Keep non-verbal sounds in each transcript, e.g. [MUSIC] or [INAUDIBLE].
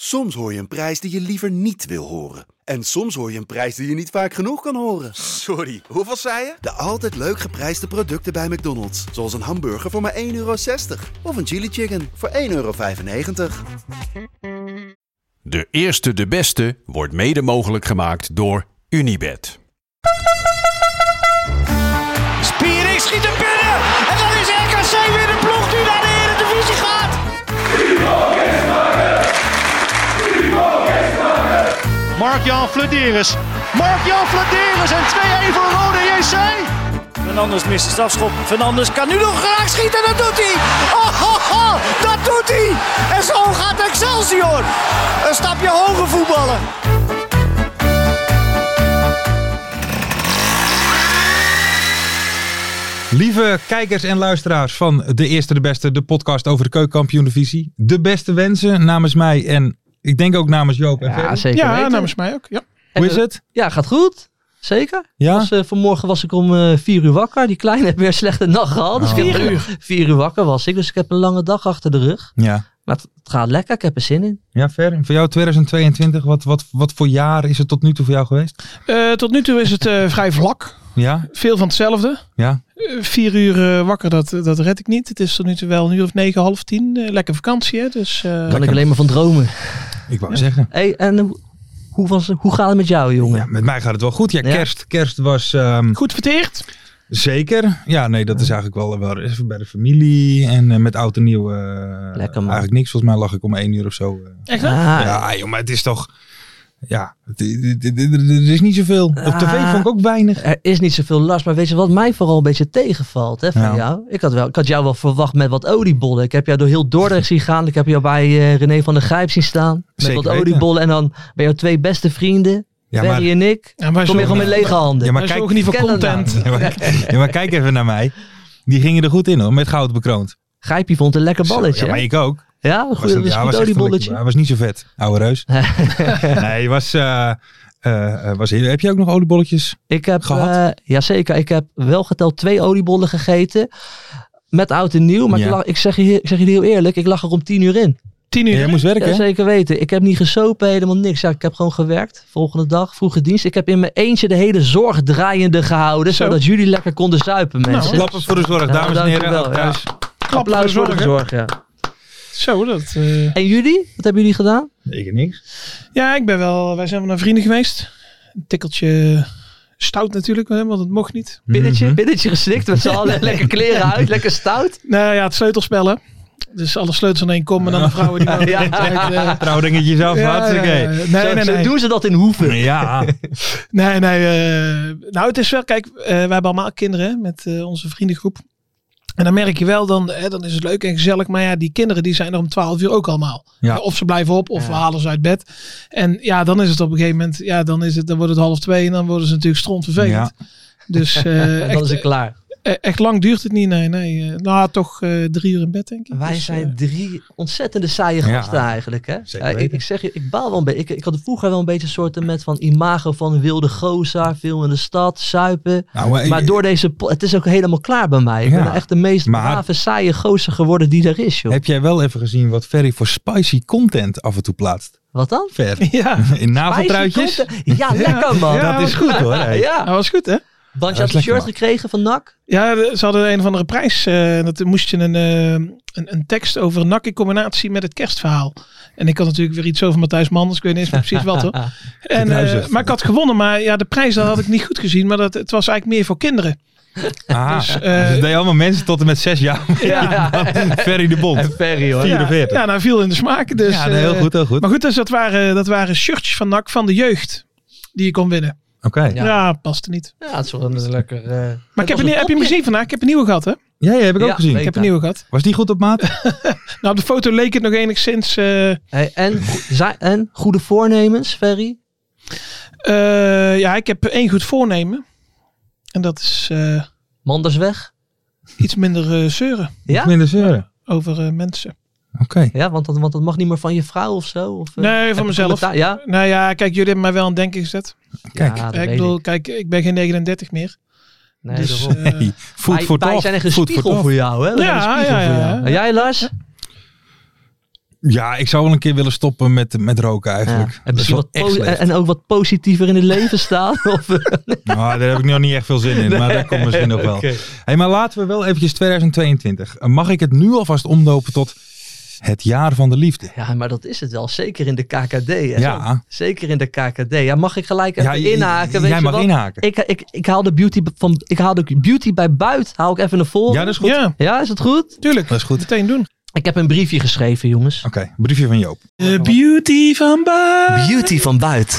Soms hoor je een prijs die je liever niet wil horen. En soms hoor je een prijs die je niet vaak genoeg kan horen. Sorry, hoeveel zei je? De altijd leuk geprijsde producten bij McDonald's. Zoals een hamburger voor maar 1,60 euro. Of een chili chicken voor 1,95 euro. De eerste de beste wordt mede mogelijk gemaakt door Unibed. Spiering schiet er binnen. En dan is RKC weer de ploeg die naar de Eredivisie gaat. Mark-Jan Flederis. Mark-Jan Flederis en 2-1 voor Rode JC. Fernandes mist de strafschop. Fernandes kan nu nog graag schieten. Dat doet hij. [LAUGHS] Oh, oh, oh, dat doet hij. En zo gaat Excelsior. Een stapje hoger voetballen. Lieve kijkers en luisteraars van De Eerste de Beste, de podcast over de keukenkampioen-divisie. De beste wensen namens mij en ik denk ook namens Joop en Ja, Ferry. zeker ja, weten. namens mij ook. Ja. nou, Hoe En, is eh, het? Ah. Ja, gaat goed. Zeker. Ja? Was, eh, vanmorgen was ik om eh, vier uur wakker. Die kleine heeft weer een slechte nacht gehad. Dus ik heb- Vier Vier uur wakker was ik, dus ik heb een lange dag achter de rug. Ja. Maar het, het gaat lekker, ik heb er zin in. Ja, Ferry. Voor jou 2022, wat, wat, wat voor jaar is het tot nu toe voor jou geweest? Eh, tot nu toe is het eh, vrij vlak. Ja? Veel van hetzelfde. Ja? Eh, vier uur eh, wakker, dat, dat red ik niet. Het is tot nu toe wel een uur of negen, half tien. Eh, lekker vakantie, hè. Dus, eh, Daar kan ik alleen maar van dromen. Ik wou zeggen. Hey, en hoe- hoe, was, hoe gaat het met jou, jongen? Ja, met mij gaat het wel goed. Ja, Ja. kerst, kerst was ehm, Goed verteerd. zeker. Ja, nee, dat is eigenlijk wel, wel even bij de familie en eh, met oud en nieuw. eh, Lekker, man. Eigenlijk niks. Volgens mij lag ik om één uur of zo. eh, Echt waar? Ah, Ja, joh, maar het is toch. Ja, het- het- het- het- er is niet zoveel. Op tv Ah. vond ik ook weinig. Er is niet zoveel last, maar weet je wat mij vooral een beetje tegenvalt hè, van Ja. jou? Ik had, wel, ik had jou wel verwacht met wat oliebollen. Ik heb jou door heel Dordrecht zien gaan. Ik heb jou bij eh, René van der Gijp zien staan. Met Zeker wat weten. oliebollen en dan bij jouw twee beste vrienden, Ja, Barry maar, en ik. Ja, maar Kom je gewoon met lege [LAUGHS] handen. Ja, maar maar kijk- kijk, niet voor ken dat nou. content. ja, maar, kijk- ja, maar kijk even naar mij. Die gingen er goed in hoor, met goud bekroond. Gijpie vond een lekker balletje. Ja, maar hè? ik ook. Ja, een Was goede- dat- ja, was een goed echt een oliebolletje. lekker- Hij was niet zo vet, ouwe [LAUGHS] reus. nee, was, eh, eh, eh, was, heel- heb je ook nog oliebolletjes? Ik heb, gehad? eh, jazeker, ik heb wel geteld twee oliebollen gegeten. Met oud en nieuw. Maar Ja. ik, lag- ik, zeg je, ik zeg je heel eerlijk, ik lag er om tien uur in. Tien Ja, uur. jij moest werken. Ja, hè? zeker weten. Ik heb niet gesopen, helemaal niks. Ja, ik heb gewoon gewerkt. Volgende dag, vroege dienst. Ik heb in mijn eentje de hele zorg draaiende gehouden. Zo. Zodat jullie lekker konden zuipen, mensen. Klappen voor de zorg, Ja, dames en Nou, dank u heren. wel, ook ja. thuis. Applaus voor de zorg, hè? zorg, ja. Zo, dat... eh, En jullie? Wat hebben jullie gedaan? Ik niks. Ja, ik ben wel... Wij zijn wel naar vrienden geweest. Een tikkeltje stout natuurlijk, hè, want het mocht niet. Binnetje, Mhm. binnetje geslikt met z'n [LAUGHS] allen. lekker kleren uit, lekker stout. Nou ja, het sleutelspel, hè. Dus alle sleutels aan één kom en dan de [LAUGHS] vrouwen die... Ja. Ja, Trouwdingetjes af, hartstikke. eh. ja, ja. zo, Nee, nee, zo nee. doen ze dat in Hoeven. Ja, Nee, nee. eh, nou, het is wel, kijk, eh, wij hebben allemaal kinderen hè, met eh, onze vriendengroep. En dan merk je wel, dan, hè, dan is het leuk en gezellig. Maar ja, die kinderen die zijn er om 12 uur ook allemaal. Ja. Of ze blijven op, of we halen ze uit bed. En ja, dan is het op een gegeven moment, ja, dan, is het, dan wordt het half twee en dan worden ze natuurlijk strontvervelend. Dus [LAUGHS] eh, En dan is echt, het klaar. eh, echt lang duurt het niet. Nee, nee. eh, nou, toch eh, drie uur in bed, denk ik. Wij Dus, eh, zijn drie ontzettende saaie Ja. gasten eigenlijk. Hè? Zeker Ja, ik, weten. ik zeg je, ik baal wel een beetje. Ik, ik had vroeger wel een beetje een soort met van imago van wilde goza, veel in de stad, zuipen. Nou, maar- maar door deze, po- het is ook helemaal klaar bij mij. Ik Ja. ben echt de meest Maar- brave, saaie gozer geworden die er is, joh. Heb jij wel even gezien wat Ferry voor spicy content af en toe plaatst? Wat dan? Ver. eh, [LAUGHS] [LAUGHS] Ja, In naveltruitjes? Spicy content. Ja, lekker man. dat is goed hoor. Ja, hey. dat was goed, hè? want je Dat had is een lekker, shirt man. gekregen van NAC. Ja, de- ze hadden een of andere prijs. eh, dat moest je een, eh, een, een tekst over NAC in combinatie met het kerstverhaal. En ik had natuurlijk weer iets over Matthijs Manders. Ik weet niet eens meer precies [LAUGHS] wat hoor. En, Nou, eh, zeg. maar ik had gewonnen. Maar ja, de prijs dat had ik niet goed gezien. Maar dat, het was eigenlijk meer voor kinderen. Ah, dus, Dus, eh, het deed allemaal mensen tot en met zes jaar. [LAUGHS] Ja, [LAUGHS] Ferry de Bond. Ferry hoor. ja, 44. ja nou viel in de smaak. Dus, ja, nee, heel eh, goed, heel goed. Maar goed, dus dat waren, dat waren shirtjes van NAC van de jeugd. Die je kon winnen. Oké. Ja. Ja, paste niet. Ja, het is wel een lekker... eh, Maar dat ik heb, was een, een heb je hem topje. gezien vandaag? Ik heb een nieuwe gehad hè? Ja, ja, heb ik ook Ja, gezien. weet- Ik heb Eta. een nieuwe gehad. Was die goed op maat? Nou, op de foto leek het nog enigszins... eh, Hey, en, zij- en goede voornemens, Ferry? Eh, ja, ik heb één goed voornemen. En dat is eh, Manders weg? iets minder eh, zeuren Ja? Eh, Minder zeuren. over eh, mensen. Oké. Ja, want dat, want dat mag niet meer van je vrouw of zo? Of, eh, heb Nee, je van mezelf. commentaar? Ja? Nou ja, kijk, jullie hebben mij wel aan denken gezet. Kijk. Ja, dat Eh, ik weet bedoel, kijk, ik ben geen 39 meer. Nee, dus, daarom. eh, Hey, voet wij, voor wij tof, zijn echt een voet spiegel tof. voor jou, hè? Wij Ja, zijn een spiegel ja, voor ja, jou. ja. En jij, Lars? Ja, ik zou wel een keer willen stoppen met, met roken eigenlijk. Ja. Dat En, is misschien wel wat echt po- en, slecht. en ook wat [LAUGHS] positiever in het leven staan. Of, eh, Nou, daar heb ik nog niet echt veel zin in, maar daar komt [LAUGHS] misschien nog wel. Hey, maar laten we wel eventjes 2022. Eh, Mag ik het nu alvast omdopen tot het jaar van de liefde? ja, maar dat is het wel. Zeker in de KKD. Hè? Ja. Zeker in de KKD. Ja, mag ik gelijk even Ja, j- inhaken? Weet jij je mag wat? inhaken. Ik, ik, ik haal de beauty b- van. Ik haal de beauty bij buit. Haal ik even naar voren. Ja, dat is [LAUGHS] goed. Ja, Ja, is het goed? tuurlijk. Dat is goed. Meteen doen. Ik heb een briefje geschreven, jongens. Oké, briefje van Joop. De beauty van Baan. Beauty van buiten.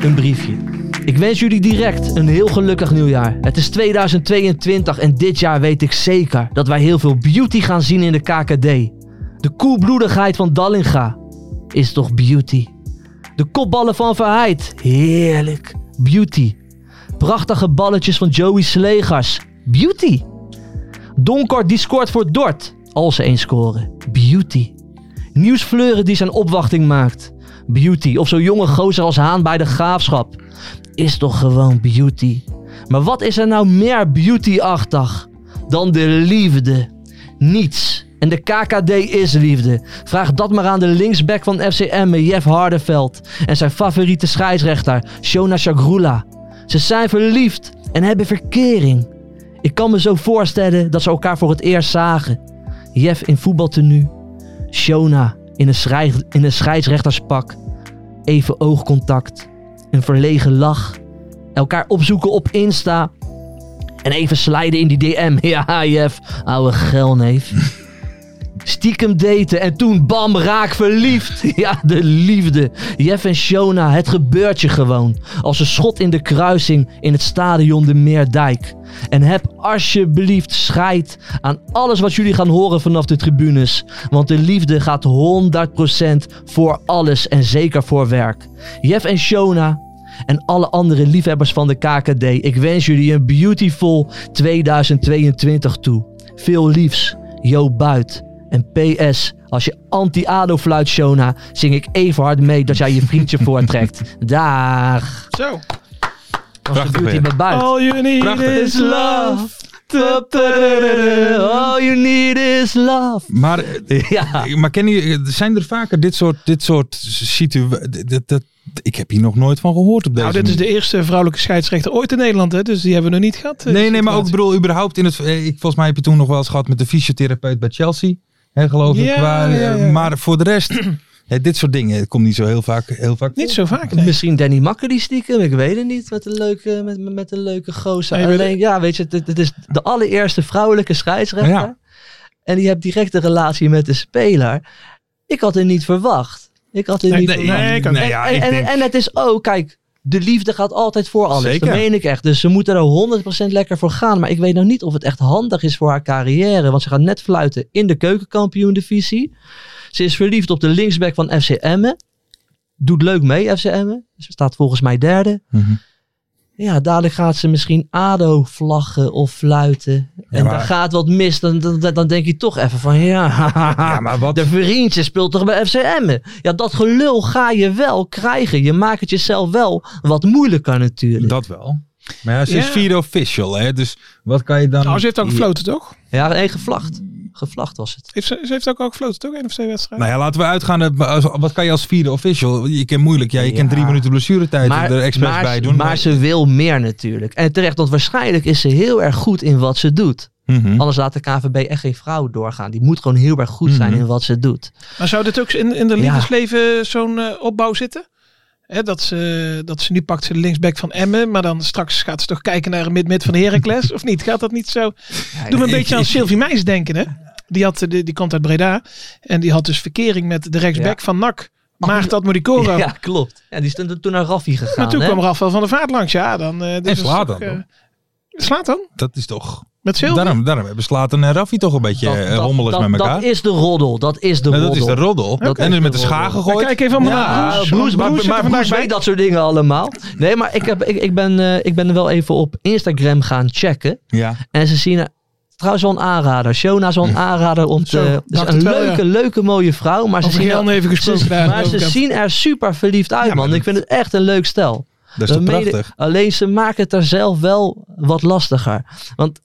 Een briefje. Ik wens jullie direct een heel gelukkig nieuwjaar. Het is 2022 en dit jaar weet ik zeker dat wij heel veel beauty gaan zien in de KKD. De koelbloedigheid van Dallinga is toch beauty. De kopballen van Verheid, heerlijk, beauty. Prachtige balletjes van Joey Slegers, beauty. Donkort die scoort voor Dort, als ze eens scoren. Beauty. Nieuwsfleuren die zijn opwachting maakt. Beauty. Of zo'n jonge gozer als Haan bij de graafschap. Is toch gewoon beauty. Maar wat is er nou meer beauty-achtig dan de liefde? Niets. En de KKD is liefde. Vraag dat maar aan de linksback van FCM, Jeff Hardeveld. En zijn favoriete scheidsrechter, Shona Chagrula. Ze zijn verliefd en hebben verkering. Ik kan me zo voorstellen dat ze elkaar voor het eerst zagen. Jeff in voetbaltenue. Shona in een, schrij- in een scheidsrechterspak. Even oogcontact. Een verlegen lach. Elkaar opzoeken op Insta. En even slijden in die DM. [LAUGHS] Ja, Jeff. Oude gelneef. Stiekem daten en toen bam, raak verliefd. [LAUGHS] Ja, de liefde. Jeff en Shona, het gebeurt je gewoon. Als een schot in de kruising in het stadion de Meerdijk. En heb alsjeblieft scheid aan alles wat jullie gaan horen vanaf de tribunes. Want de liefde gaat 100% voor alles en zeker voor werk. Jeff en Shona en alle andere liefhebbers van de KKD. Ik wens jullie een beautiful 2022 toe. Veel liefs, Jo Buit. En PS, als je anti-ADO fluit, Shona, zing ik even hard mee dat jij je vriendje [LAUGHS] voortrekt. Daag. Zo. Dat was de Prachtig beauty weer. met buit. All you need Prachtig. is love. Ta- ta- da- da- da- da. All you need is love. Maar, [LAUGHS] eh, Ja. maar ken je, zijn er vaker dit soort, dit soort eh, situaties? Ik heb hier nog nooit van gehoord op deze Nou, dit is de eerste vrouwelijke scheidsrechter ooit in Nederland, hè? dus die hebben we nog niet gehad. eh, Nee, die nee, maar ook ik situatie. bedoel, überhaupt in het. eh, Ik, volgens mij heb je toen nog wel eens gehad met de fysiotherapeut bij Chelsea. Hè, geloof ik. Ja, Waar, eh, ja, ja. Maar voor de rest, [CLEARS THROAT] hè, dit soort dingen het komt niet zo heel vaak. Heel vaak Niet voor. zo vaak, nee. Misschien Danny Makker die stiekem, ik weet het niet, met een leuke, met, met een leuke gozer. Nee, maar- Alleen, ja, weet je, het, het is de allereerste vrouwelijke scheidsrechter. Ja. En die heeft direct een relatie met de speler. Ik had het niet verwacht. Ik had het Nee, niet nee, verwacht. nee, ik ook nee, en, ja, en, ik en- denk- en het is ook, kijk, de liefde gaat altijd voor alles. Zeker. Dat meen ik echt. Dus ze moeten er 100% lekker voor gaan. Maar ik weet nog niet of het echt handig is voor haar carrière. Want ze gaat net fluiten in de keukenkampioen-divisie. Ze is verliefd op de linksback van FC Emmen. Doet leuk mee, FC Emmen. Ze staat volgens mij derde. Mhm. Ja, dadelijk gaat ze misschien ADO vlaggen of fluiten. En maar- daar gaat wat mis. Dan, dan, dan denk je toch even van ja, Ja, [LAUGHS] maar wat. de vriendje speelt toch bij FC Emmen. Ja, dat gelul ga je wel krijgen. Je maakt het jezelf wel wat moeilijker natuurlijk. Dat wel. Maar ja, ze is Ja. vierde official, hè? Dus wat kan je dan. Nou, ze heeft ook gefloten, toch? Ja, nee, gevlacht. Gevlacht was het. Heeft ze, ze heeft ook al gefloten, toch? Eén of twee wedstrijden. Nou ja, laten we uitgaan. dat- als- Wat kan je als vierde official? Je kent moeilijk. Ja, je kent drie Ja. minuten blessuretijd er expres maar, bij doen. maar ze wil meer natuurlijk. En terecht, want waarschijnlijk is ze heel erg goed in wat ze doet. Mhm. Anders laat de KVB echt geen vrouw doorgaan. Die moet gewoon heel erg goed zijn Mhm. in wat ze doet. Maar zou dit ook in, in de Ja. liefdesleven zo'n eh, opbouw zitten? Hè, dat, ze, dat ze nu pakt ze de linksback van Emmen, maar dan straks gaat ze toch kijken naar een mid-mid van Heracles, of niet? Gaat dat niet zo? Doe me een ik- beetje aan ik- Sylvie Meijs denken, hè? Die, had, eh, die, die komt uit Breda en die had dus verkering met de rechtsback van NAC, Maarten Admodicoro. Oh, [LAUGHS] Ja, klopt. Ja, die is toen- toen naar Raffi gegaan. maar toen hè? kwam Rafael van der Vaart langs, ja. Dan, eh, dus En slaat dat is dan, toch, eh, slaat dan? Dat is toch. Met Sylvie? Daarom, daarom hebben Slaten en Raffi toch een beetje Dat- eh, dat- rommelig dat- met elkaar. Dat is de roddel. Dat is de Nou, roddel. dat is de roddel. Oké. En dus met de Dat is de schaar roddel. gegooid. Nou, kijk even allemaal Ja, naar Broes, Broes. Broes, Broes zit er maar vandaag Broes bij. weet dat soort dingen allemaal. Nee, maar ik, heb, ik, ik, ben, eh, ik ben wel even op Instagram gaan checken. Ja. En ze zien er trouwens wel een aanrader. Shona is wel een aanrader om te... Zo, het is dacht een het wel, leuke, leuke, mooie vrouw. Maar ze, Over zien Gelne er, even gesproken. ze, daar, maar over ze Kamp. zien er super verliefd uit, Ja, maar man. Ik dat- vind het echt een leuk stel. Dat is toch We mede- prachtig? Alleen ze maken het er zelf wel wat lastiger. Want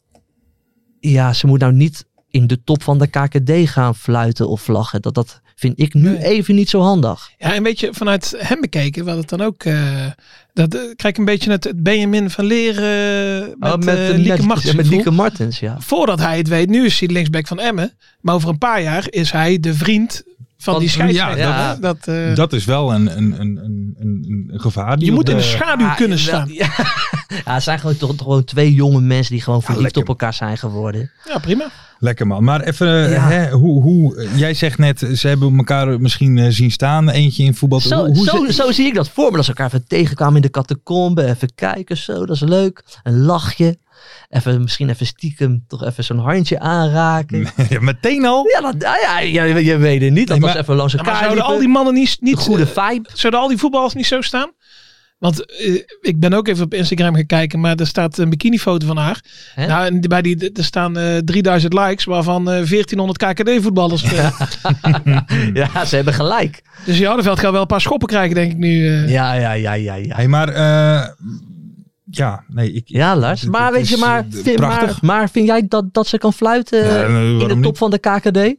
ja, ze moet nou niet in de top van de KKD gaan fluiten of vlaggen. Dat, dat vind ik nu Nee. even niet zo handig. Ja, en weet je, vanuit hem bekeken, wat het dan ook. eh, dat eh, krijg ik een beetje het het Benjamin van Leren. eh, Met, Oh, eh, eh, Lieke met- Martens. ja, met gevoel. Lieke Martens, ja. Voordat hij het weet, nu is hij de linksback van Emmen. Maar over een paar jaar is hij de vriend van, Van- die scheidsrechter. ja, hè? dat, eh, Dat is wel een, een, een, een, een, een gevaar. Die je op moet in de de- schaduw Ah, kunnen wel- staan. Ja, [LAUGHS] Ja, het zijn gewoon, toch, toch gewoon twee jonge mensen die gewoon verliefd lekker. op elkaar zijn geworden. Ja, prima. Lekker man. Maar even, eh, Ja. hè, hoe, hoe, eh, jij zegt net, ze hebben elkaar misschien eh, zien staan. Eentje in voetbal. Zo, hoe, hoe zo, ze- zo zie ik dat voor me. Dat ze elkaar even tegenkwamen in de catacombe. Even kijken, zo, dat is leuk. Een lachje. Even, misschien even stiekem toch even zo'n handje aanraken. [LAUGHS] Ja, meteen al. Ja, dat, ah, ja, ja, je, je weet het niet. Dat Nee, was maar- even langs Ja, maar elkaar zouden liepen. al die mannen niet, Een niet eh, goede [LAUGHS] vibe. Zouden al die voetballers niet zo staan? Want eh, ik ben ook even op Instagram gaan kijken, maar er staat een bikinifoto van haar. Hè? Nou, en die- bij die, er staan eh, 3000 likes, waarvan eh, 1400 KKD-voetballers. Ja, ze hebben gelijk. [LAUGHS] Dus Jardenveld gaat wel een paar schoppen krijgen, denk ik nu. eh. Ja, ja, ja, ja, ja. Hey, maar eh, ja, nee, ik. Ja, Lars. Het- Maar het weet is, je, maar, eh, vind, maar, prachtig. maar vind jij dat, dat ze kan fluiten eh, Ja, nee, in de waarom top niet? van de KKD?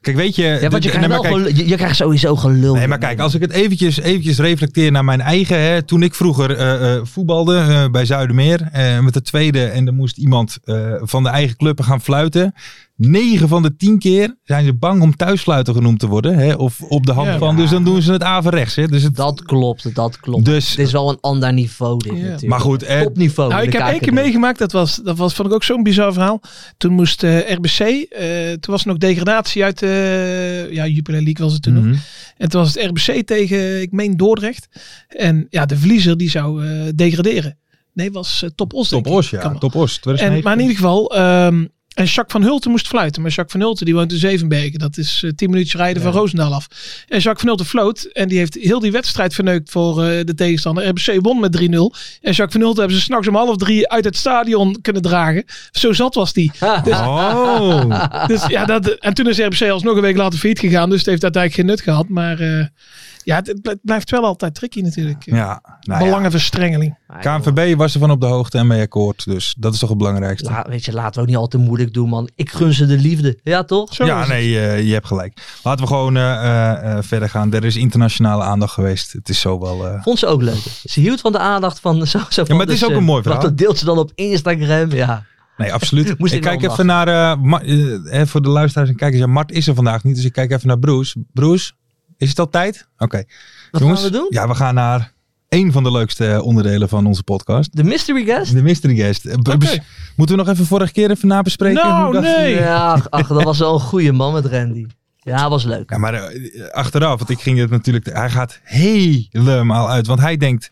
Kijk, weet je. Ja, want je dit- krijgt, nee, wel maar kijk, gelul- je, je krijgt sowieso gelul. Nee, maar kijk, als ik het eventjes, eventjes reflecteer naar mijn eigen. Hè, toen ik vroeger eh, eh, voetbalde eh, bij Zuidermeer eh, met de tweede. En er moest iemand eh, van de eigen club gaan fluiten. 9 van de 10 keer zijn ze bang om thuisfluiter genoemd te worden. Hè, of op de hand Ja. van. Dus dan doen ze het averechts. Hè, dus het, Dat klopt, dat klopt. Dus- het is wel een ander niveau dit Ja. natuurlijk. maar goed, eh, Topniveau. Nou, in ik de heb één KKD. keer meegemaakt, dat, was, dat was, vond ik ook zo'n bizar verhaal. Toen moest eh, RBC, eh, toen was er nog degradatie uit de ja, Jupiler League was het toen nog. Mhm. En toen was het RBC tegen, ik meen, Dordrecht. En ja, de verliezer die zou eh, degraderen. Nee, was eh, Top Os. denk Top ik. Os, ja. Kan wel. Top Os. En, 2009. maar in ieder geval, ehm, en Jacques van Hulten moest fluiten. Maar Jacques van Hulten, die woont in Zevenbergen. Dat is eh, 10 minuten rijden van Roosendaal af. En Jacques van Hulten floot. En die heeft heel die wedstrijd verneukt voor eh, de tegenstander. RBC won met 3-0. En Jacques van Hulten hebben ze s'nachts om half drie uit het stadion kunnen dragen. Zo zat was die. Oh. Dus ja, dat, en toen is RBC alsnog een week later failliet gegaan. Dus het heeft uiteindelijk geen nut gehad. Maar eh, ja, het, het blijft wel altijd tricky natuurlijk. Ja, nou ja. Belangenverstrengeling. Maar joh, KNVB was ervan op de hoogte en mee akkoord. Dus dat is toch het belangrijkste. la- weet je, laten we ook niet al te moeilijk doen, man. Ik gun ze de liefde. Ja, toch? Zo ja, is het. nee, eh, je hebt gelijk. Laten we gewoon eh, eh, eh, verder gaan. Er is internationale aandacht geweest. Het is zo wel. eh, Vond ze ook leuk. Ze hield van de aandacht van... Zo, zo maar het is ook een mooi verhaal. Want dat deelt ze dan op Instagram. Ja, nee, [LAUGHS] absoluut. Moest ik ik wel kijk om even naar. eh, Ma- eh, eh, voor de luisteraars en kijkers. Ja, Mart is er vandaag niet. Dus ik kijk even naar Bruce. Bruce, is het al tijd? Oké. wat Jongens, gaan we doen? Ja, we gaan naar één van de leukste eh, onderdelen van onze podcast. De mystery guest? De mystery guest. Eh, b- bes- Moeten we nog even vorige keer even nabespreken? Nou, Hoe dat- nee. Ja, ach, ach, dat was wel een goede man met Randy. Ja, was leuk. Ja, maar eh, achteraf, want ik ging het natuurlijk. Hij gaat helemaal uit. Want hij denkt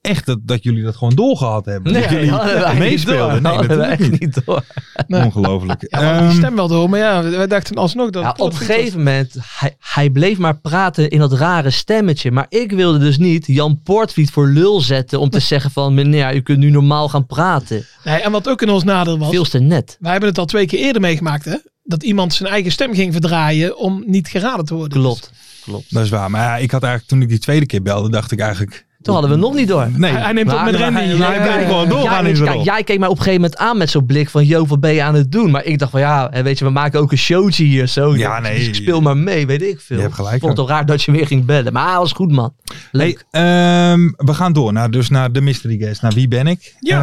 echt dat, dat jullie dat gewoon doorgehad hebben. Nee, dat jullie hadden wij niet door. meespeelden. Nee, Hadden wij natuurlijk echt niet. niet door. Nee. Ongelooflijk. Ja, we hadden die Ehm, stem wel door, maar ja, wij dachten alsnog dat. Ja, het op een klopt. gegeven moment, hij, hij bleef maar praten in dat rare stemmetje. Maar ik wilde dus niet Jan Poortvliet voor lul zetten om te zeggen van... meneer, u kunt nu normaal gaan praten. Nee, en wat ook in ons nadeel was, Veel te net. wij hebben het al twee keer eerder meegemaakt, hè? Dat iemand zijn eigen stem ging verdraaien om niet geraden te worden. Klopt. Klopt. dat is waar. Maar ja, ik had eigenlijk toen ik die tweede keer belde, dacht ik eigenlijk. Toen hadden we hem nog niet door. Nee, Hij, hij neemt op Maar- met maar- Randy. maar- hij blijft gewoon doorgaan in jij, zijn kijk, rol. jij keek mij op een gegeven moment aan met zo'n blik van... Yo, wat ben je aan het doen? Maar ik dacht van ja, hè, weet je, we maken ook een showtje hier. Zo, Ja, Dus nee. ik speel maar mee, weet ik veel. Je hebt gelijk, Ik vond het al raar dat je weer ging bellen. Maar hij was goed, man. Leuk. Hey, ehm, we gaan door naar, dus naar de mystery guest. Naar wie ben ik? Ja,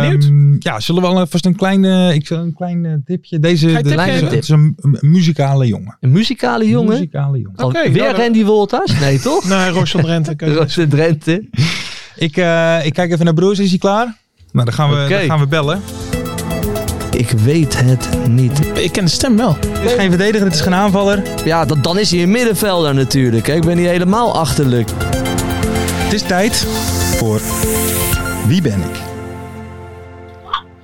Ehm, ben Ja, zullen we alvast een klein, eh, ik zal een klein eh, tipje. Deze je de- tip het is- geven? het is een, een muzikale jongen. Een muzikale jongen. Muzikale jongen. Van- Oké, weer nou, dan- Randy Wolters? Nee, [LAUGHS] toch? Nee, [LAUGHS] Roxel Drenthe. keuze. Rosse Drenthe. Ik, eh, ik kijk even naar Bruce. Is hij klaar? Nou, dan gaan we, Oké. dan gaan we bellen. Ik weet het niet. Ik ken de stem wel. Het is geen verdediger, het is geen aanvaller. Ja, dat, dan is hij een middenvelder natuurlijk. hè. Ik ben niet helemaal achterlijk. Het is tijd voor Wie ben ik?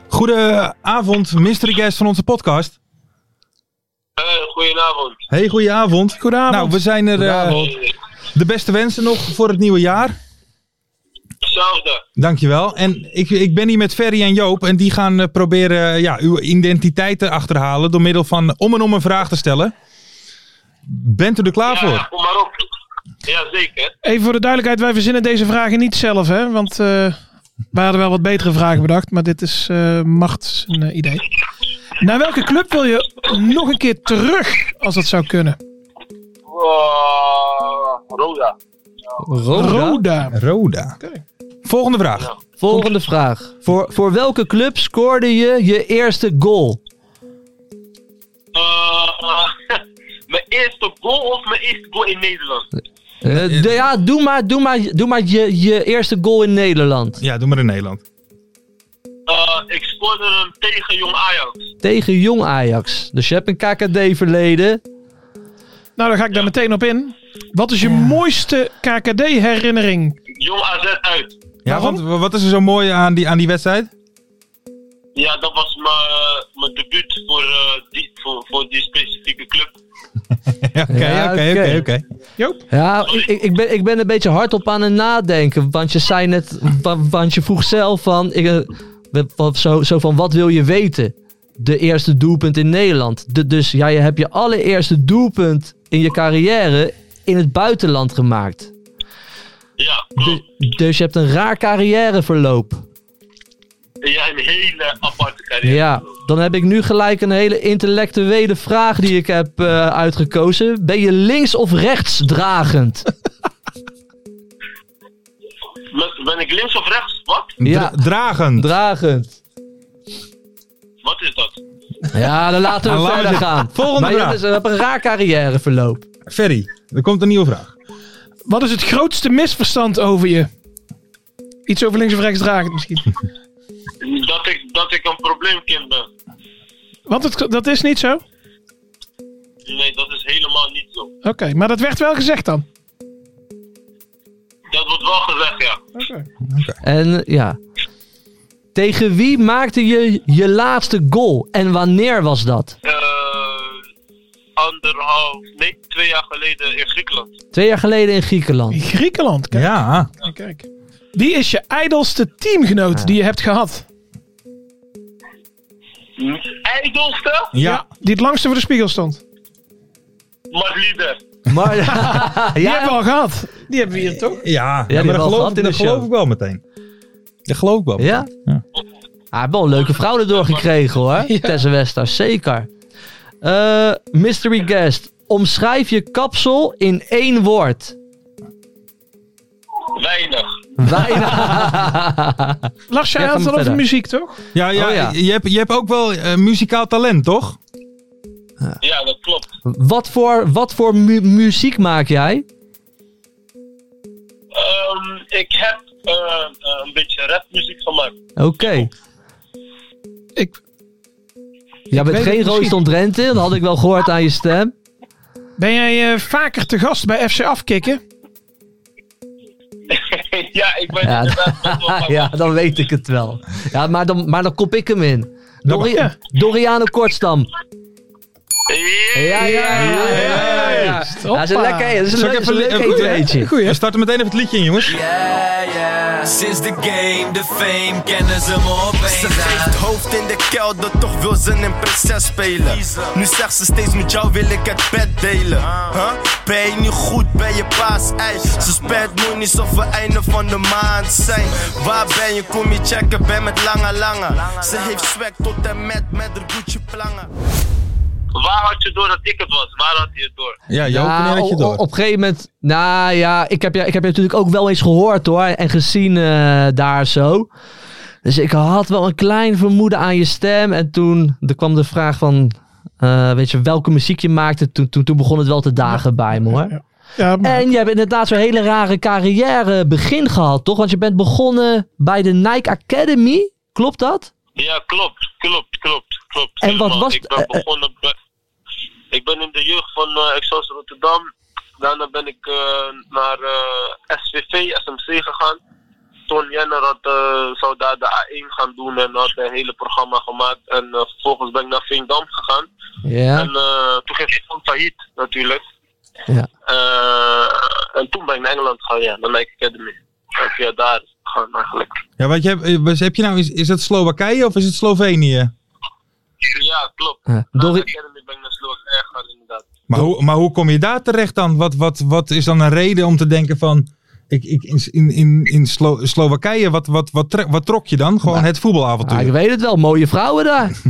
Goedenavond, mystery guest van onze podcast. Eh, goedenavond. Hey, goedenavond. Goedenavond. Nou, we zijn er. eh, Eh, de beste wensen nog voor het nieuwe jaar. Hetzelfde. Dankjewel. En ik, ik ben hier met Ferry en Joop. En die gaan eh, proberen eh, ja, uw identiteit te achterhalen. door middel van om en om een vraag te stellen. Bent u er klaar ja, voor? kom maar op. Jazeker. Even voor de duidelijkheid, wij verzinnen deze vragen niet zelf, hè? Want eh wij hadden wel wat betere vragen bedacht, maar dit is eh Macht's een, eh, idee. Naar welke club wil je nog een keer terug als dat zou kunnen? Oh, Roda. Roda. Roda. Roda. Volgende vraag. Volgende vraag. Voor, voor welke club scoorde je je eerste goal? Eh, [LAUGHS] mijn eerste goal of mijn eerste goal in Nederland? Eh, de- ja, doe maar, doe maar, doe maar je, je eerste goal in Nederland. Ja, doe maar in Nederland. Eh, ik scoorde hem tegen Jong Ajax. Tegen jong Ajax. Dus je hebt een KKD-verleden. Nou, daar ga ik daar meteen op in. Wat is je mooiste KKD-herinnering? Jong AZ uit. Ja, want wa- wat is er zo mooi aan die, aan die wedstrijd? [LAUGHS] Ja, dat was mijn- mijn debuut voor, eh, die, voor, voor die specifieke club. Ja, Ja, Oké, oké, oké. oké, oké. Joop? Ja, ik, ik, ik ben, ik ben een beetje hardop aan het nadenken. Want je zei net, wa- want je vroeg zelf van, ik, eh, wa- wa- zo, zo van wat wil je weten? De eerste doelpunt in Nederland. De- dus ja, je hebt je allereerste doelpunt in je carrière in het buitenland gemaakt. Ja, klopt. Du- dus je hebt een raar carrièreverloop. Ja, een hele aparte carrière. Ja, dan heb ik nu gelijk een hele intellectuele vraag die ik heb eh, uitgekozen. Ben je links of rechts dragend? Ben- Ben ik links of rechts? Wat? Ja. Dra- dragend. Dragend. Wat is dat? Ja, dan laten we Nou, laten verder we- gaan. Volgende maar je vraag. hebt dus- je hebt een raar carrièreverloop. Ferry, er komt een nieuwe vraag. Wat is het grootste misverstand over je? Iets over links of rechts dragen misschien. Dat ik, dat ik een probleemkind ben. Want het, dat is niet zo. Oké, Nee, dat is helemaal niet zo. maar dat werd wel gezegd dan. Dat wordt wel gezegd, ja. En eh, ja. Tegen wie maakte je je laatste goal? En wanneer was dat? Eh, anderhalf, nee, twee jaar geleden in Griekenland. Twee jaar geleden in [LAUGHS] Griekenland. In Griekenland, kijk. Ja. kijk. Wie is je ijdelste teamgenoot die je hebt gehad? Mhm. IJdelste, Ja. Die het langste voor de spiegel stond. maar liever. Maar, Die [LAUGHS] ja, hebben we al gehad. Die hebben we hier toch? Eh, Ja, maar die hebben we al dat geloof, gehad in dat de geloof show. ik wel meteen. Dat geloof ik wel. Ja? Ja. Hij heeft wel een leuke vrouw erdoor gekregen hoor. Tessa Wester, zeker. Eh, mystery guest. Omschrijf je kapsel in één woord. Weinig. Bijna. Lars, jij Ja, had ga maar het al over verder. muziek, toch? Ja, ja, Oh, ja. Je, hebt, je hebt ook wel eh, muzikaal talent, toch? Ja, dat klopt. wat voor, wat voor mu- muziek maak jij? Ehm, ik heb eh, een beetje rapmuziek gemaakt. [LAUGHS] Oké. Ik, Jij bent weet geen het Roos misschien. van Drenthe. Dat had ik wel gehoord aan je stem. ben jij eh, vaker te gast bij FC Afkikken? ja, ik ben Ja, [LAUGHS] inderdaad best wel ja, dan weet ik het wel. Ja, maar dan, maar dan kop ik hem in. Dori- Ja. Doriano Kortstam. Ja, ja, ja. ja, ja, ja. Juist. Ja, Dat is een Hoppa. lekker, dat is een Zal leuk, ik dat is een leuk eh, goeie, hè? eetweetje. Goeie, hè? We starten meteen even het liedje in, jongens. Sinds de game, de fame, kennen ze me opeens. Ze geeft hoofd in de kelder, toch wil ze een prinses spelen. Nu zegt ze steeds met jou wil ik het bed delen. Huh? Ben je niet goed bij je paas? Ey, ze spijt moet niet of we einde van de maand zijn. Waar ben je? Kom je checken, ben met lange lange. Ze heeft zwek tot en met, met haar Gucci plangen. Waar had je door dat ik het was? Waar had je het door? Ja, oh, Joop, Ja, wanneer had je op- door? Nou, Op, een gegeven moment, nou ja, ik heb je, ik heb je natuurlijk ook wel eens gehoord hoor. En gezien eh, daar zo. Dus ik had wel een klein vermoeden aan je stem. En toen er kwam de vraag van, eh, weet je, welke muziek je maakte. Toen, toen, toen begon het wel te dagen bij me hoor. Ja, maar- En je hebt inderdaad zo'n hele rare carrière begin gehad, toch? Want je bent begonnen bij de Nike Academy. Klopt dat? Ja, klopt, klopt, klopt, klopt. En wat Helemaal. was- Ik ben eh, eh. begonnen bij... Ik ben in de jeugd van eh Excelsior Rotterdam. Daarna ben ik eh, naar eh, SVV, SMC gegaan. Ton Jenner had, eh, zou daar de A1 gaan doen en had een hele programma gemaakt. En eh, vervolgens ben ik naar Veendam gegaan. En Ja. eh, toen ging ik van failliet natuurlijk. Ja. Eh, en toen ben ik naar Engeland gegaan, ja, naar Nike Academy. En via daar gegaan eigenlijk. Ja, want je hebt, eh, was- heb je nou, is, is dat Slowakije of is het Slovenië? Ja, klopt. Ja. Naar Dori- Nike Academy Ah, ben ik naar Slowakije gegaan inderdaad. Maar hoe, maar hoe kom je daar terecht dan? Wat, wat, wat is dan een reden om te denken van... Ik, ik, in in, in Slo Slowakije, wat, wat, wat, tre- wat trok je dan? Gewoon het voetbalavontuur. Ah, ik weet het wel, mooie vrouwen daar.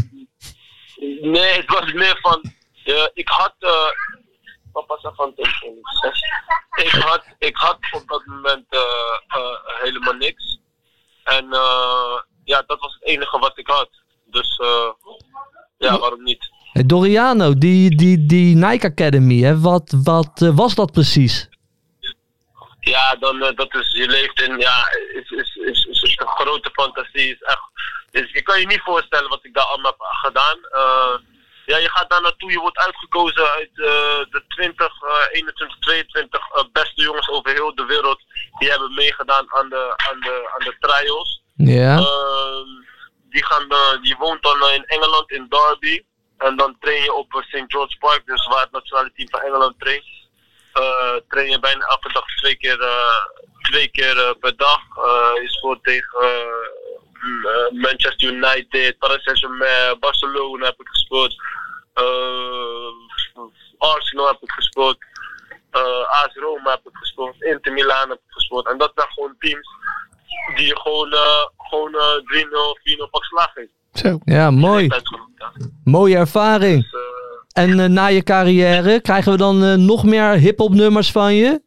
Nee, het was meer van. eh, ik had. eh, papa zei van telefoon. Ik had, ik had op dat moment eh, eh, helemaal niks. En eh, ja, dat was het enige wat ik had. Dus eh, ja, waarom niet? Eh, Doriano, die, die, die Nike Academy, hè, wat, wat eh, was dat precies? Ja, dan eh, dat is, je leeft in, ja, is, is, is, is een grote fantasie. Is echt, is, je kan je niet voorstellen wat ik daar allemaal heb gedaan. Eh, ja, je gaat daar naartoe, je wordt uitgekozen uit eh, de 20, eh, 21, 22 eh, beste jongens over heel de wereld. Die hebben meegedaan aan de, aan de, aan de trials. Ja. Ehm, die, gaan, eh, die woont dan eh, in Engeland, in Derby. En dan train je op eh, St. George Park, dus waar het nationale team van Engeland traint. Eh, train je bijna elke dag twee keer, eh, twee keer eh, per dag. Eh, je speelt tegen eh, m- eh, Manchester United, Paris Saint-Germain, Barcelona heb ik gespeeld. Eh, Arsenal heb ik gespeeld. Eh AS Roma heb ik gespeeld. Inter Milan heb ik gespeeld. En dat zijn gewoon teams die je gewoon, eh, gewoon eh 3-0, 4-0 pak slaag heeft. Zo. ja, mooi. Ja. Mooie ervaring. Dus, eh, En eh, na je carrière krijgen we dan eh, nog meer hip-hop nummers van je?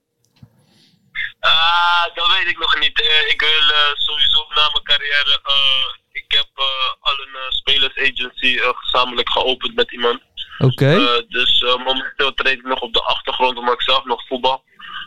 Ah, dat weet ik nog niet. Eh, ik wil eh, sowieso na mijn carrière. eh, ik heb eh, al een eh, spelers-agency eh, gezamenlijk geopend met iemand. Oké. Eh, dus eh, momenteel treed ik nog op de achtergrond, omdat ik zelf nog voetbal.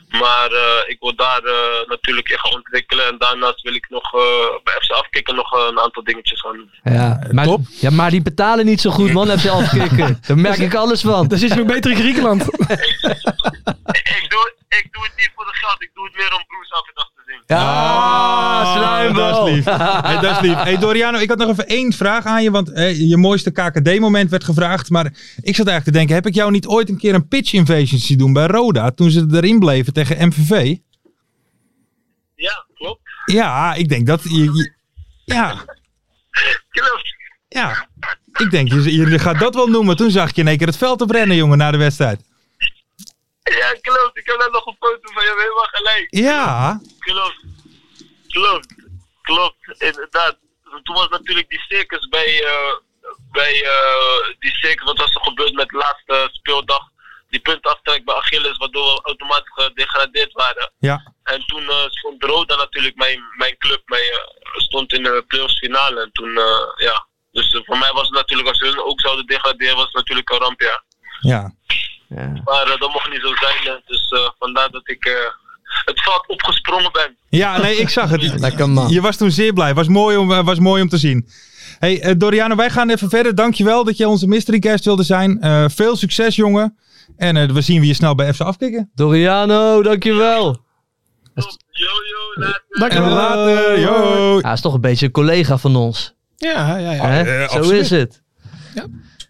Maar eh, ik wil daar eh, natuurlijk in gaan ontwikkelen. En daarnaast wil ik nog eh, bij FC Afkikken nog eh, een aantal dingetjes gaan doen. ja, maar, top. ja, maar die betalen niet zo goed, man. Heb je [LAUGHS] afkicken. Daar merk ik alles van. Dus Dan zit je nog beter in Griekenland. [LAUGHS] [LAUGHS] ik, doe, ik doe het niet voor de geld, ik doe het meer om Bruce elke dag te zien. Ja, dat sluimbal. is lief. [LAUGHS] Hey, Ah, dat is lief. Hey, Doriano, ik had nog even één vraag aan je. Want eh, je mooiste KKD-moment werd gevraagd. Maar ik zat eigenlijk te denken: heb ik jou niet ooit een keer een pitch invasion zien doen bij Roda? Toen ze erin bleven tegen MVV? Ja, klopt. Ja, ik denk dat. Je, je- ja, Klopt. ja. Ik denk, je, je gaat dat wel noemen. Toen zag ik je in één keer het veld oprennen, jongen, na de wedstrijd. Ja, klopt. Ik heb daar nog een foto van. Je hebt helemaal gelijk. Ja, Klopt. Klopt. Klopt. Inderdaad. Toen was natuurlijk die circus bij... eh, bij eh, die circus, wat was er gebeurd met de laatste speeldag? Die puntaftrek bij Achilles, waardoor we automatisch gedegradeerd waren. ja. En toen eh, stond Roda natuurlijk, mijn, mijn club, mijn, eh, stond in de playoffs finale. En toen, eh, ja. Dus eh, voor mij was het natuurlijk, als hun ook zouden degraderen, was het natuurlijk een ramp, ja. ja. Maar eh, dat mocht niet zo zijn. hè. Dus eh, vandaar dat ik eh, het veld opgesprongen ben. Ja, nee, ik zag het. Lekker man. Je was toen zeer blij. Was mooi om, eh, was mooi om te zien. Hey, eh, Doriano, wij gaan even verder. Dankjewel dat je onze mystery guest wilde zijn. Eh, veel succes, jongen. En eh, we zien we je snel bij FC afkicken. Doriano, dankjewel. Yo, yo, laat En Dankjewel. later. Yo. Hij is toch een beetje een collega van ons. Ja, ja, ja. hè? eh, Zo absoluut. is het.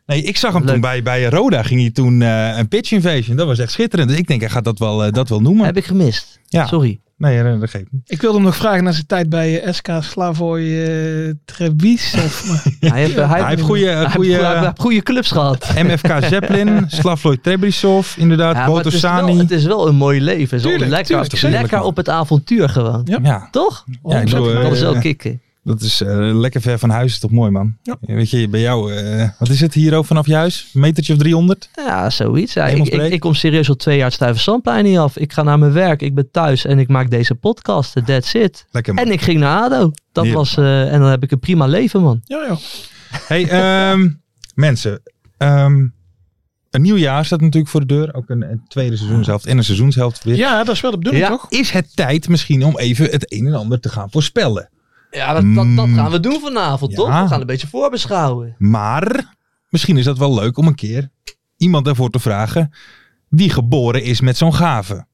Nee, ik zag hem Leuk. toen bij, bij Roda. Ging hij toen eh, een pitch invasion. Dat was echt schitterend. Dus ik denk, hij gaat dat wel, eh, dat wel noemen. Heb ik gemist. Ja. Sorry. Nee, eh, dat geeft niet. Ik wilde hem nog vragen naar zijn tijd bij eh, SK Slavoj eh Trebiš. of- Hij heeft, hij Hij heeft goede- hij heeft goede- goe- hij heeft goede clubs gehad. MFK Zeppelin, Slavoj Trebrisov, inderdaad, Ja, maar het, is wel, Botosani. het is wel een mooi leven. Zo Tuurlijk, lekker, tuurlijk, zeker. lekker op het avontuur gewoon. Ja. Ja, Toch? Ja, ik bedoel, dat is eh, wel kicken. dat is eh, lekker ver van huis. Is toch mooi, man? Weet je, bij jou, eh, wat is het hier ook vanaf je huis? Een metertje of 300? Ja, zoiets. Ja, ik, Hemelsbreed. ik, ik kom serieus al twee jaar het Stuyvesantplein niet af. Ik ga naar mijn werk, ik ben thuis en ik maak deze podcast. That's it. Lekker, man. En ik ging naar ADO. Dat Ja. was, eh, en dan heb ik een prima leven, man. Ja, ja. Hey, ehm, mensen. ehm, een nieuw jaar staat natuurlijk voor de deur. Ook een, een tweede seizoenshelft en een seizoenshelft weer. ja, dat is wel de bedoeling, Ja. toch? Is het tijd misschien om even het een en ander te gaan voorspellen? Ja, dat, dat- dat gaan we doen vanavond, Mm. Ja. toch? We gaan een beetje voorbeschouwen. [LAUGHS] Maar misschien is dat wel leuk om een keer iemand daarvoor te vragen die geboren is met zo'n gave.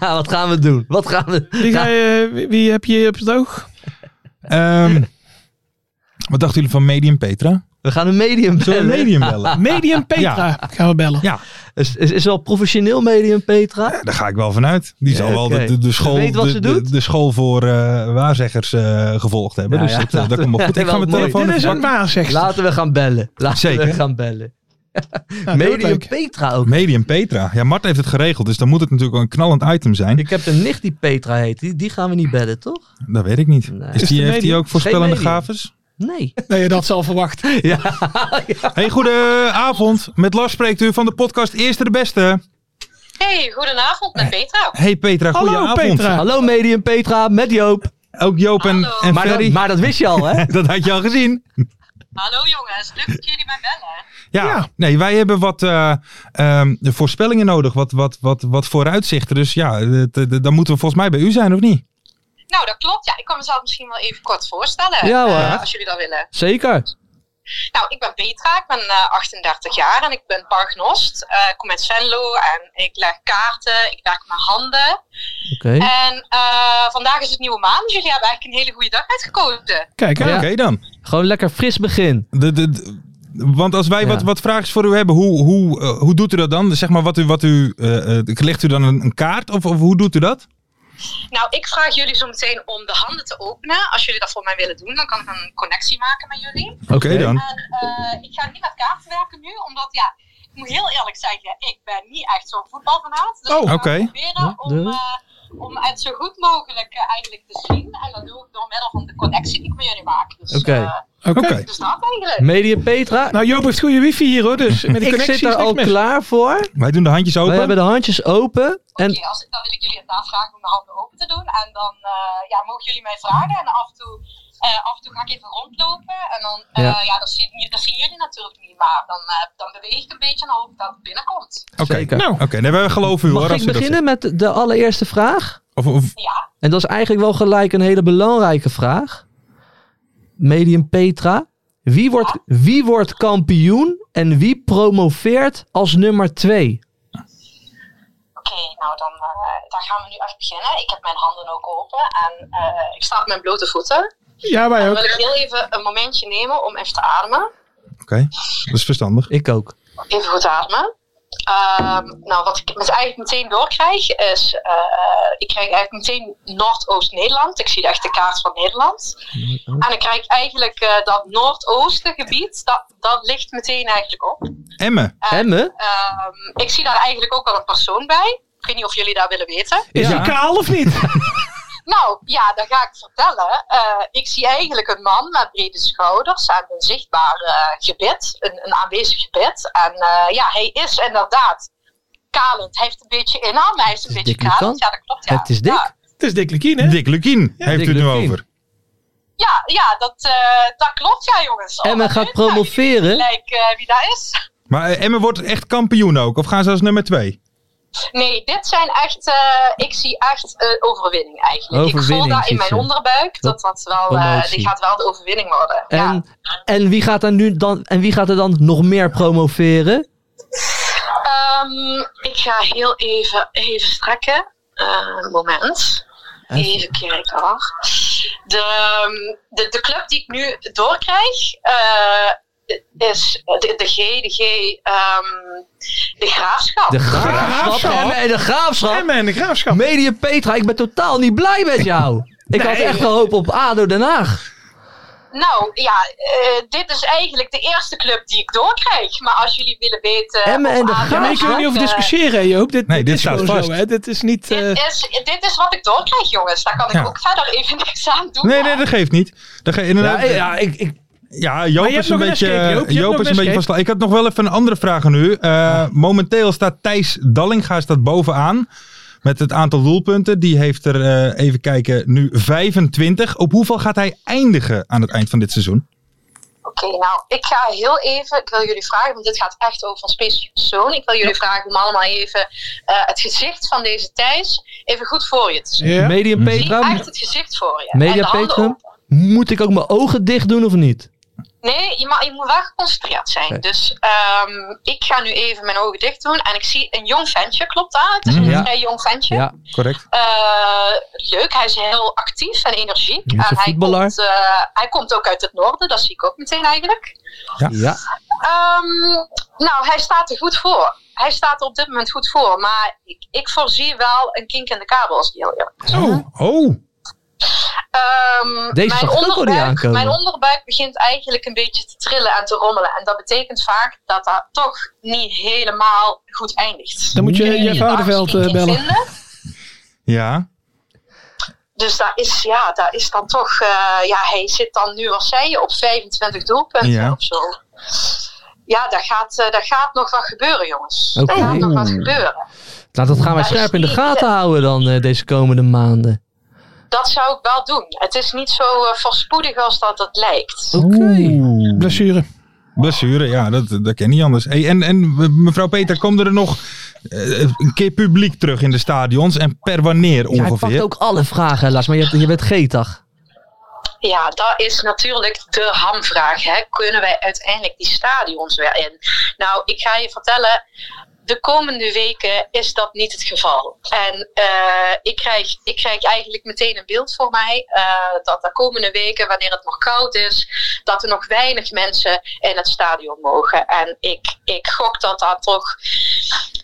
Wat gaan we doen? Wat gaan we... Wie, ga je, wie, wie heb je op het oog? Ehm, wat dachten jullie van Medium Petra? We gaan een medium Zullen bellen. [LAUGHS] we Medium bellen? Nou, Medium Petra gaan we bellen. Ja. Is, is, is wel professioneel medium, Petra. Daar ga ik wel vanuit. Die zal Ja, wel oké. de, de, de school, Ze weet wat de, ze de- doet. de school voor eh, waarzeggers eh, gevolgd hebben. Ja, dus ja, dat, eh, dat- dat [LAUGHS] komt wel goed. Ik ga wel mijn mooi. telefoon Dit is even een waar, zegt ze. Laten we gaan bellen. Laten we Zeker. gaan bellen. Nou, dat wordt medium leuk. Petra ook. Medium Petra. Ja, Mart heeft het geregeld, dus dan moet het natuurlijk wel een knallend item zijn. Ik heb een nicht die Petra heet. Die, die gaan we niet bellen, toch? Dat weet ik niet. Nee. Is die, Is de heeft hij medium- ook voorspellende medium. gaves? Nee. Nee, dat zal verwacht. [LAUGHS] Ja. [LAUGHS] Hey, goedenavond. Met Lars spreekt u van de podcast Eerste de Beste. Hey, goedenavond met Petra. Hey Petra, Hallo, goedenavond. Petra. Hallo Medium Petra, met Joop. Ook Joop en, Hallo. en Maar dat, Ferry. maar dat wist je al, [LAUGHS] hè? dat had je al gezien. Hallo jongens, leuk dat jullie mij bellen. Ja, nee, wij hebben wat eh, ehm, de voorspellingen nodig, wat, wat, wat, wat vooruitzichten. Dus ja, het- het- dan moeten we volgens mij bij u zijn, of niet? Nou, dat klopt. Ja, ik kan mezelf misschien wel even kort voorstellen. Ja, hoor. eh, als jullie dat willen. Zeker. Nou, ik ben Petra, ik ben eh, 38 jaar en ik ben paragnost. Eh, ik kom uit Venlo en ik leg kaarten, ik werk mijn handen. Oké. En eh, vandaag is het nieuwe maan, dus jullie hebben eigenlijk een hele goede dag uitgekozen. Kijk, hè? Oké, Ja. dan. Gewoon lekker fris begin. De, de, de- want als wij Ja. wat, wat vragen voor u hebben, hoe, hoe, eh, hoe doet u dat dan? Zeg maar, wat u, wat u, eh, eh, legt u dan een, een kaart of, of hoe doet u dat? Nou, ik vraag jullie zo meteen om de handen te openen. Als jullie dat voor mij willen doen, dan kan ik een connectie maken met jullie. Oké, dan. En eh, ik ga niet met kaarten werken nu, omdat ja, ik moet heel eerlijk zeggen, ik ben niet echt zo'n voetbalfanaat. Dus Oh, ik ga oké. proberen om, Ja, dus? eh, om het zo goed mogelijk eh, eigenlijk te zien. En dat doe ik door middel van de connectie die ik met jullie maak. Dus, Oké. eh, Oké. dus dat eigenlijk. Medium Petra, Nou, Joop heeft goede wifi hier hoor, dus met de ik connectie zit is er niks al mis. klaar voor. Wij doen de handjes Wij open. hebben de handjes open. Oké, En als, dan wil ik jullie inderdaad vragen om de handen open te doen. En dan eh, ja, mogen jullie mij vragen. En af en toe, eh, af en toe ga ik even rondlopen. En dan, eh, Ja. ja. dat, zien, dat zien jullie natuurlijk niet. Maar dan, eh, dan beweeg ik een beetje en dan hoop ik dat het binnenkomt. Oké, Zeker. nou. Oké, nee, wij geloven u hoor. mag als ik u dat beginnen met de allereerste vraag? zegt. Of, of, Ja, En dat is eigenlijk wel gelijk een hele belangrijke vraag. Medium Petra. Wie wordt, wie wordt kampioen en wie promoveert als nummer 2? Oké, nou dan, eh, dan gaan we nu echt beginnen. Ik heb mijn handen ook open en eh, ik sta op mijn blote voeten. Ja, wij Dan ook. wil ik heel even een momentje nemen om even te ademen. Oké, dat is verstandig. Ik ook. Even goed ademen. Ehm, nou, wat ik met eigenlijk meteen doorkrijg is, eh, ik krijg eigenlijk meteen Noordoost-Nederland. Ik zie echt de kaart van Nederland. En dan krijg ik eigenlijk eh, dat Noordoostengebied, dat, dat ligt meteen eigenlijk op. Emme. Emme? Ehm, ik zie daar eigenlijk ook al een persoon bij. Ik weet niet of jullie daar willen weten. Is hij kaal of niet? Nou ja, dan ga ik vertellen. Eh, ik zie eigenlijk een man met brede schouders en een zichtbaar eh, gebit, een, een aanwezig gebit. En eh, ja, hij is inderdaad kalend. Hij heeft een beetje inham, hij heeft een Het is beetje dik, kalend. Lucan. Ja, dat klopt. Ja. Het is dik. Ja, Het is Dick Lekien, hè? Dick Lukien heeft Dick u het nu Lukien. over. ja, ja, dat, eh, dat klopt, ja, jongens. Oh, Emme wat gaat leuk. Nou, jullie weten promoveren. Gelijk eh, wie dat is. Maar eh, Emme wordt echt kampioen ook? Of gaan ze als nummer twee? Nee, dit zijn echt. eh, ik zie echt eh, overwinning eigenlijk. ik Overwinning, voel daar in ziet mijn ze. onderbuik dat dat wel. eh, Promotie. die gaat wel de overwinning worden. ja. En, en, wie gaat er nu dan, en wie gaat er dan nog meer promoveren? Ehm, ik ga heel even, even strekken. Eh, moment. Even kijken hoor. De, ehm, de, de club die ik nu doorkrijg eh, is de, de G, de G, ehm, de Graafschap. De graafschap. Graafschap. Emme en de graafschap. Emmen en de Graafschap. Medium Petra, ik ben totaal niet blij met jou. Ik had echt gehoopt op ADO Den Haag. Nou ja, eh, dit is eigenlijk de eerste club die ik doorkrijg. Maar als jullie willen weten... Emmen of en de ADO Ja, maar je Graafschap, kunt er niet over eh, discussiëren, hè, Joop. Dit, Nee, dit is staat gewoon vast. Zo, hè. Dit is niet... eh, Dit is, dit is wat ik doorkrijg, jongens. Daar kan ik Ja. ook verder even [LAUGHS] niks aan doen. Nee, nee, dat geeft niet. Dat ge- Ja, inderdaad, ja, ja, ik, ik, Joop Maar je is hebt een nog een beetje, escape, Joop. Joop. Je hebt nog is een een beetje escape. vastla- Ik had nog wel even een andere vraag aan u. Eh, Momenteel staat Thijs Dallinga staat bovenaan. Met het aantal doelpunten. Die heeft er, eh, even kijken, nu 25. Op hoeveel gaat hij eindigen aan het eind van dit seizoen? Oké, nou, ik ga heel even, ik wil jullie vragen, want dit gaat echt over een specifieke persoon. Ik wil jullie vragen om allemaal even eh, het gezicht van deze Thijs even goed voor je te zien. ja. Medium Petra, Echt het gezicht voor je. En de Media handen Petra, op. moet ik ook mijn ogen dicht doen of niet? Nee, je, ma- je moet wel geconcentreerd zijn. Oké. Dus ehm, ik ga nu even mijn ogen dicht doen en ik zie een jong ventje, klopt dat? Het is Mhm. een Mm, Ja. vrij jong ventje. Ja, Correct. Eh, leuk, hij is heel actief en energiek. Hij is en een hij voetballer. komt, eh, hij komt ook uit het noorden, dat zie ik ook meteen eigenlijk. ja. Ehm, nou, hij staat er goed voor. Hij staat er op dit moment goed voor. Maar ik, ik voorzie wel een kink in de kabel als die heel eerlijk is. Oh, oh. Ehm, Deze zag ik ook al niet aankomen. mijn onderbuik begint eigenlijk een beetje te trillen en te rommelen. En dat betekent vaak dat dat toch niet helemaal goed eindigt. Dan moet je eh, Kunnen Jeff jullie het Aardenveld, absoluut eh, niet bellen. vinden? Ja. Dus daar is, ja, daar is dan toch, eh, ja, hij zit dan nu, wat zei je, op 25 doelpunten Ja. of zo. Ja, daar gaat, eh, daar gaat nog wat gebeuren, jongens. Oké. Daar gaat nog wat gebeuren. Nou, dat gaan wij scherp in de gaten houden dan eh, deze komende maanden. Dat zou ik wel doen. Het is niet zo eh, voorspoedig als dat het lijkt. Oké. Blessure. Blessure, ja, dat, dat ken niet anders. Hey, en, en mevrouw Peter, komen er nog eh, een keer publiek terug in de stadions? En per wanneer Jij pakt ongeveer? ook alle vragen helaas, maar je, hebt- je bent geetag. Ja, dat is natuurlijk de hamvraag. Hè. Kunnen wij uiteindelijk die stadions weer in? Nou, ik ga je vertellen. De komende weken is dat niet het geval. En eh, ik, krijg, ik krijg eigenlijk meteen een beeld voor mij eh, dat de komende weken, wanneer het nog koud is, dat er nog weinig mensen in het stadion mogen. En ik, ik gok dat dat toch.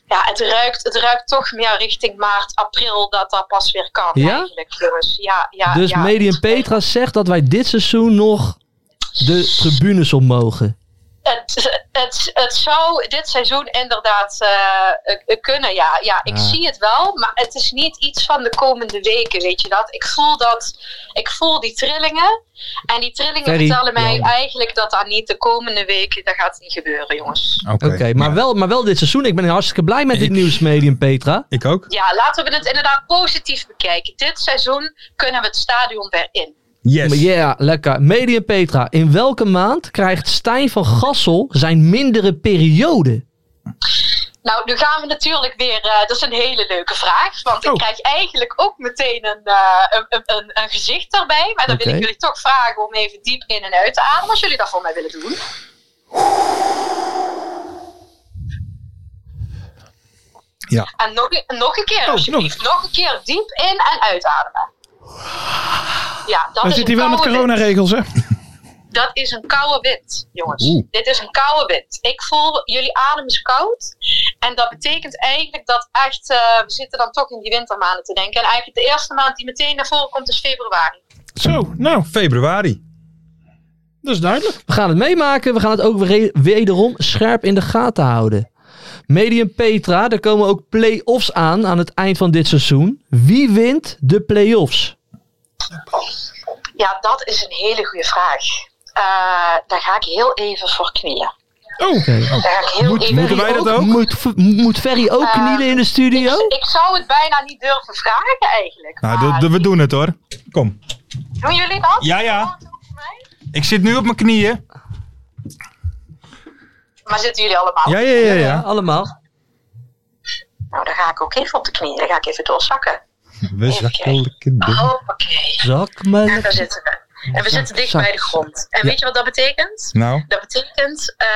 Ja, het ruikt, het ruikt toch meer richting maart, april dat dat pas weer kan. Ja? Eigenlijk, jongens. Ja, ja, dus ja. Medium Petra zegt dat wij dit seizoen nog de tribunes om mogen. Het, het, het zou dit seizoen inderdaad eh, eh, kunnen, ja. ja ik Ja. zie het wel, maar het is niet iets van de komende weken, weet je dat? Ik voel, dat, ik voel die trillingen. En die trillingen Ferry, vertellen mij Jan. eigenlijk dat dat niet de komende weken... Dat gaat niet gebeuren, jongens. Oké, Oké, maar, wel, maar wel dit seizoen. Ik ben hartstikke blij met dit nieuws, Medium Petra. Ik ook? Ja, laten we het inderdaad positief bekijken. Dit seizoen kunnen we het stadion weer in. Yes. Ja, lekker. Medium Petra, in welke maand krijgt Stijn van Gassel zijn mindere periode? Nou, nu gaan we natuurlijk weer. eh, dat is een hele leuke vraag. Want Oh. ik krijg eigenlijk ook meteen een, eh, een, een- een, een gezicht erbij. Maar dan wil Oké. ik jullie toch vragen om even diep in en uit te ademen. Als jullie dat voor mij willen doen. Ja. En nog, een- nog een keer, Oh, nog alsjeblieft. Nog een keer diep in en uitademen. Ja, dat Dan is zit een hij wel met koude wind. coronaregels, hè? Dat is een koude wind, jongens. Oeh. Dit is een koude wind. Ik voel, jullie adem is koud. En dat betekent eigenlijk dat echt, eh, we zitten dan toch in die wintermaanden te denken. En eigenlijk de eerste maand die meteen naar voren komt is februari. Zo, nou, Februari. dat is duidelijk. We gaan het meemaken. We gaan het ook weer- wederom scherp in de gaten houden. Medium Petra, er komen ook play-offs aan aan het eind van dit seizoen. Wie wint de play-offs? Ja, dat is een hele goede vraag. Eh, daar ga ik heel even voor knielen. Oh, Daar ga ik heel even moeten wij dat ook? Moet, v- moet Ferry ook Eh, knielen in de studio? Ik, ik zou het bijna niet durven vragen eigenlijk. Nou, maar dat- dat- we doen het hoor. Kom. Doen jullie dat? Ja, ja. Ik zit nu op mijn knieën. Maar zitten jullie allemaal? Ja, ja, ja, Ja, ja. allemaal. Nou, daar ga ik ook even op de knieën. Daar ga ik even doorzakken. We zakkelijke dingen. Hoppakee. Zak maar. En daar zitten we. En we zitten dicht zak, bij de grond. En weet je wat dat betekent? Nou, Dat betekent, eh,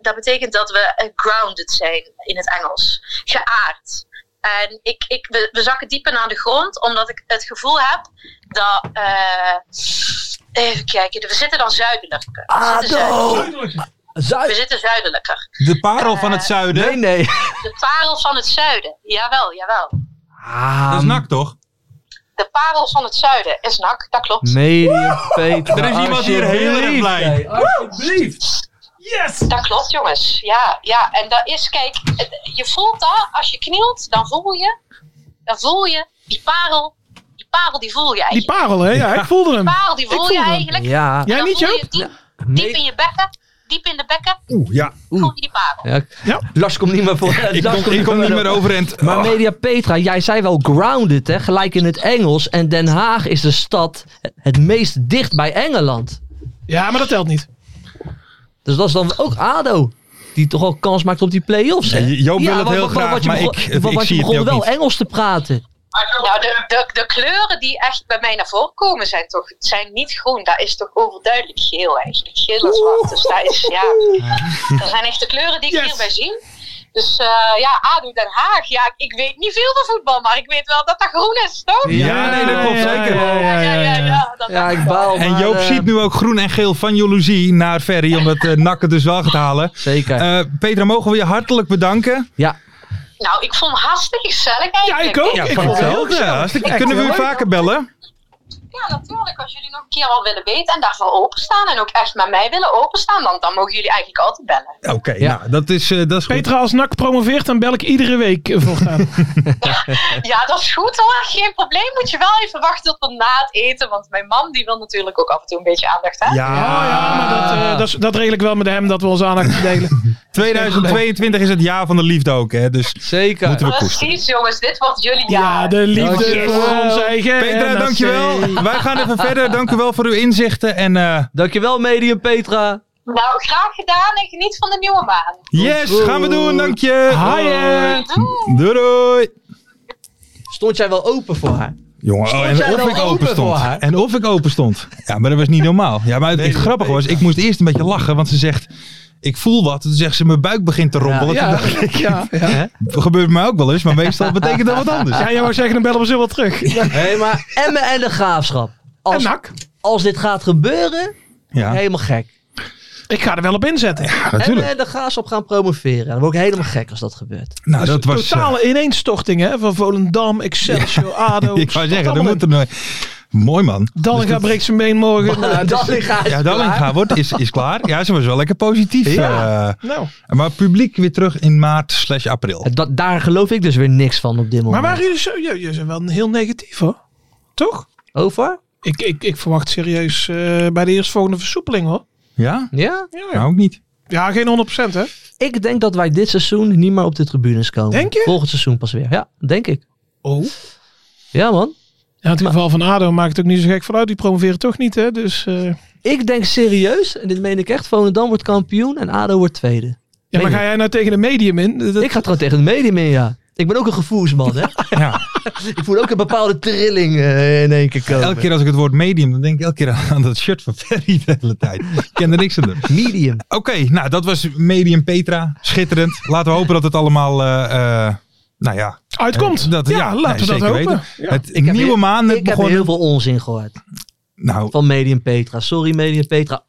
dat betekent dat we eh, grounded zijn in het Engels. Geaard. En ik, ik, we, we zakken dieper naar de grond, omdat ik het gevoel heb dat. eh, even kijken, we zitten dan zuidelijker. We, zitten, zuidelijker. we Zuid. zitten zuidelijker. de parel van het zuiden. Nee, nee. De parel van het zuiden. Jawel, jawel. Ah, Dat is nak toch? De parel van het zuiden is nak, dat klopt. Medium Petra. Er is iemand hier heel erg alsjeblieft, blij. hè. Alsjeblieft. Dat klopt, jongens. Ja, ja. En dat is, kijk, het- je voelt dat als je knielt, dan voel je, dan voel je die parel, die parel die voel je Die eigenlijk. parel, hè? Ja, ik voelde hem. Die parel die Ik voel voel je hem. eigenlijk. Ja. Jij Dan niet, voel je Joop? het Diep, diep in je bekken, diep in de bekken, Oeh, ja. voel je die parel. Ja. Ja. Lars komt niet meer [LAUGHS] voor. Ik Lars kom, komt ik kom niet voor. meer overend. Maar Oh. Media Petra, jij zei wel grounded, hè? gelijk in het Engels. En Den Haag is de stad het meest dicht bij Engeland. Ja, maar dat telt niet. Dus dat is dan ook ADO. Die toch al kans maakt op die play-offs. hè? Ja, Joop wil het want- heel want- want graag, je maar begon- ik- want ik je zie het begon ook wel niet. Engels te praten. Nou, de, de, de kleuren die echt bij mij naar voren komen zijn toch zijn niet groen. Dat is toch overduidelijk geel eigenlijk. Geel en zwart. Dus dat is, ja. Dat zijn echt de kleuren die ik Yes. hierbij zie. Dus eh, ja, ADO Den Haag. Ja, ik- ik weet niet veel van voetbal, maar ik weet wel dat dat groen is, toch? Ja, nee, dat klopt Ja, ja, zeker. ja, ja, ja, ja. dat- Ja, ik baal. En maar, Joop eh, ziet nu ook groen en geel van jaloezie naar Ferry, omdat eh Nak het dus wel gaat halen. Zeker. Eh, Petra, mogen we je hartelijk bedanken? ja. Nou, ik vond het hartstikke gezellig eigenlijk. Ja, ik ook. Ja, Ik- vond het heel Ja, gezellig. hartstikke- Kunnen we u Echt, hoor. vaker bellen? ja, natuurlijk. eigenlijk als jullie nog een keer al willen weten en daarvoor openstaan en ook echt met mij willen openstaan, dan, dan mogen jullie eigenlijk altijd bellen. Oké, nou, dat is, eh, dat is goed. Petra, als NAC promoveert, dan bel ik iedere week eh, voortaan. Ja, dat is goed hoor, geen probleem. Moet je wel even wachten tot na het eten, want mijn man die wil natuurlijk ook af en toe een beetje aandacht. Hè? Eh, Ja, ja, maar dat, eh, dat, is- dat regel ik wel met hem, dat we onze [LAUGHS] aandacht delen. 2022 is het jaar van de liefde ook, hè? Dus Zeker. moeten we koesteren. Precies jongens, dit wordt jullie jaar. Ja, de liefde Dankjewel. voor ons eigen Petra, NAC. dankjewel. Wij gaan even verder. Dank u wel voor uw inzichten. En eh, Dankjewel, medium Petra. Nou, graag gedaan en geniet van de nieuwe maan. yes, goed. gaan we doen. Dank je. Haaien. Doei doei. Stond jij wel open voor [LAUGHS] haar? Jongen, oh, en jij of wel ik open open voor stond. haar? En of ik open stond. Ja, maar dat was niet normaal. Ja, maar het grappig was, ik moest eerst een beetje lachen, want ze zegt, ik voel wat. Toen zegt ze, mijn buik begint te rommelen. Toen Ja, dacht ik, [LAUGHS] ja, ja. Dat gebeurt mij ook wel eens, maar meestal betekent dat wat anders. Ja, jij wou zeggen, dan bellen we zo wel terug. Hé, maar Emmen en de Graafschap. En Als, NAC, als dit gaat gebeuren, Ja, helemaal gek. ik ga er wel op inzetten. natuurlijk. Emmen en de Graafschap gaan promoveren. Dan word ik helemaal gek als dat gebeurt. Nou, dat was... eh, Totale ineenstorting hè, van Volendam, Excelsior, [LAUGHS] ADO. ik zou zeggen, dat moet er nooit... Mooi man. Dallinga breekt zijn been morgen. Nou, dat ligt Ja, Dallinga wordt, is, is klaar. Ja, ze was wel lekker positief. Ja. eh. Nou, maar publiek weer terug in maart slash april. Dat, daar geloof ik dus weer niks van op dit moment. maar waren jullie zo... Jullie jullie zijn wel heel negatief hoor. Toch? Over? Ik, ik, ik verwacht serieus eh, bij de eerstvolgende versoepeling hoor. Ja? Ja? Ja, Nou, ook niet. ja geen 100% hè. Ik denk dat wij dit seizoen niet meer op de tribunes komen. Denk je? Volgend seizoen pas weer. Ja, denk ik. Oh. Ja, man. Ja, het geval van ADO maakt het ook niet zo gek vanuit. Die promoveren toch niet hè. Dus, eh, Ik denk serieus, en dit meen ik echt, Volendam wordt kampioen en ADO wordt tweede. ja, maar je? ga jij nou tegen de medium in? Dat- Ik ga gewoon tegen het medium in, ja. Ik ben ook een gevoelsman, hè. Ja. ik voel ook een bepaalde trilling eh, in één keer komen. Elke keer als ik het woord medium, dan denk ik elke keer [LAUGHS] aan dat shirt van Ferry de hele tijd. Ik ken er niks aan doen. Medium. Oké, nou dat was medium Petra. Schitterend. Laten we hopen dat het allemaal, eh, eh, nou ja. Uitkomt. Dat, ja, nee, laten we dat zeker hopen. weten. Ja. Het Ik heb nieuwe heel- maan net Ik heb begonnen. heel veel onzin gehoord Nou, van Medium Petra. Sorry, Medium Petra.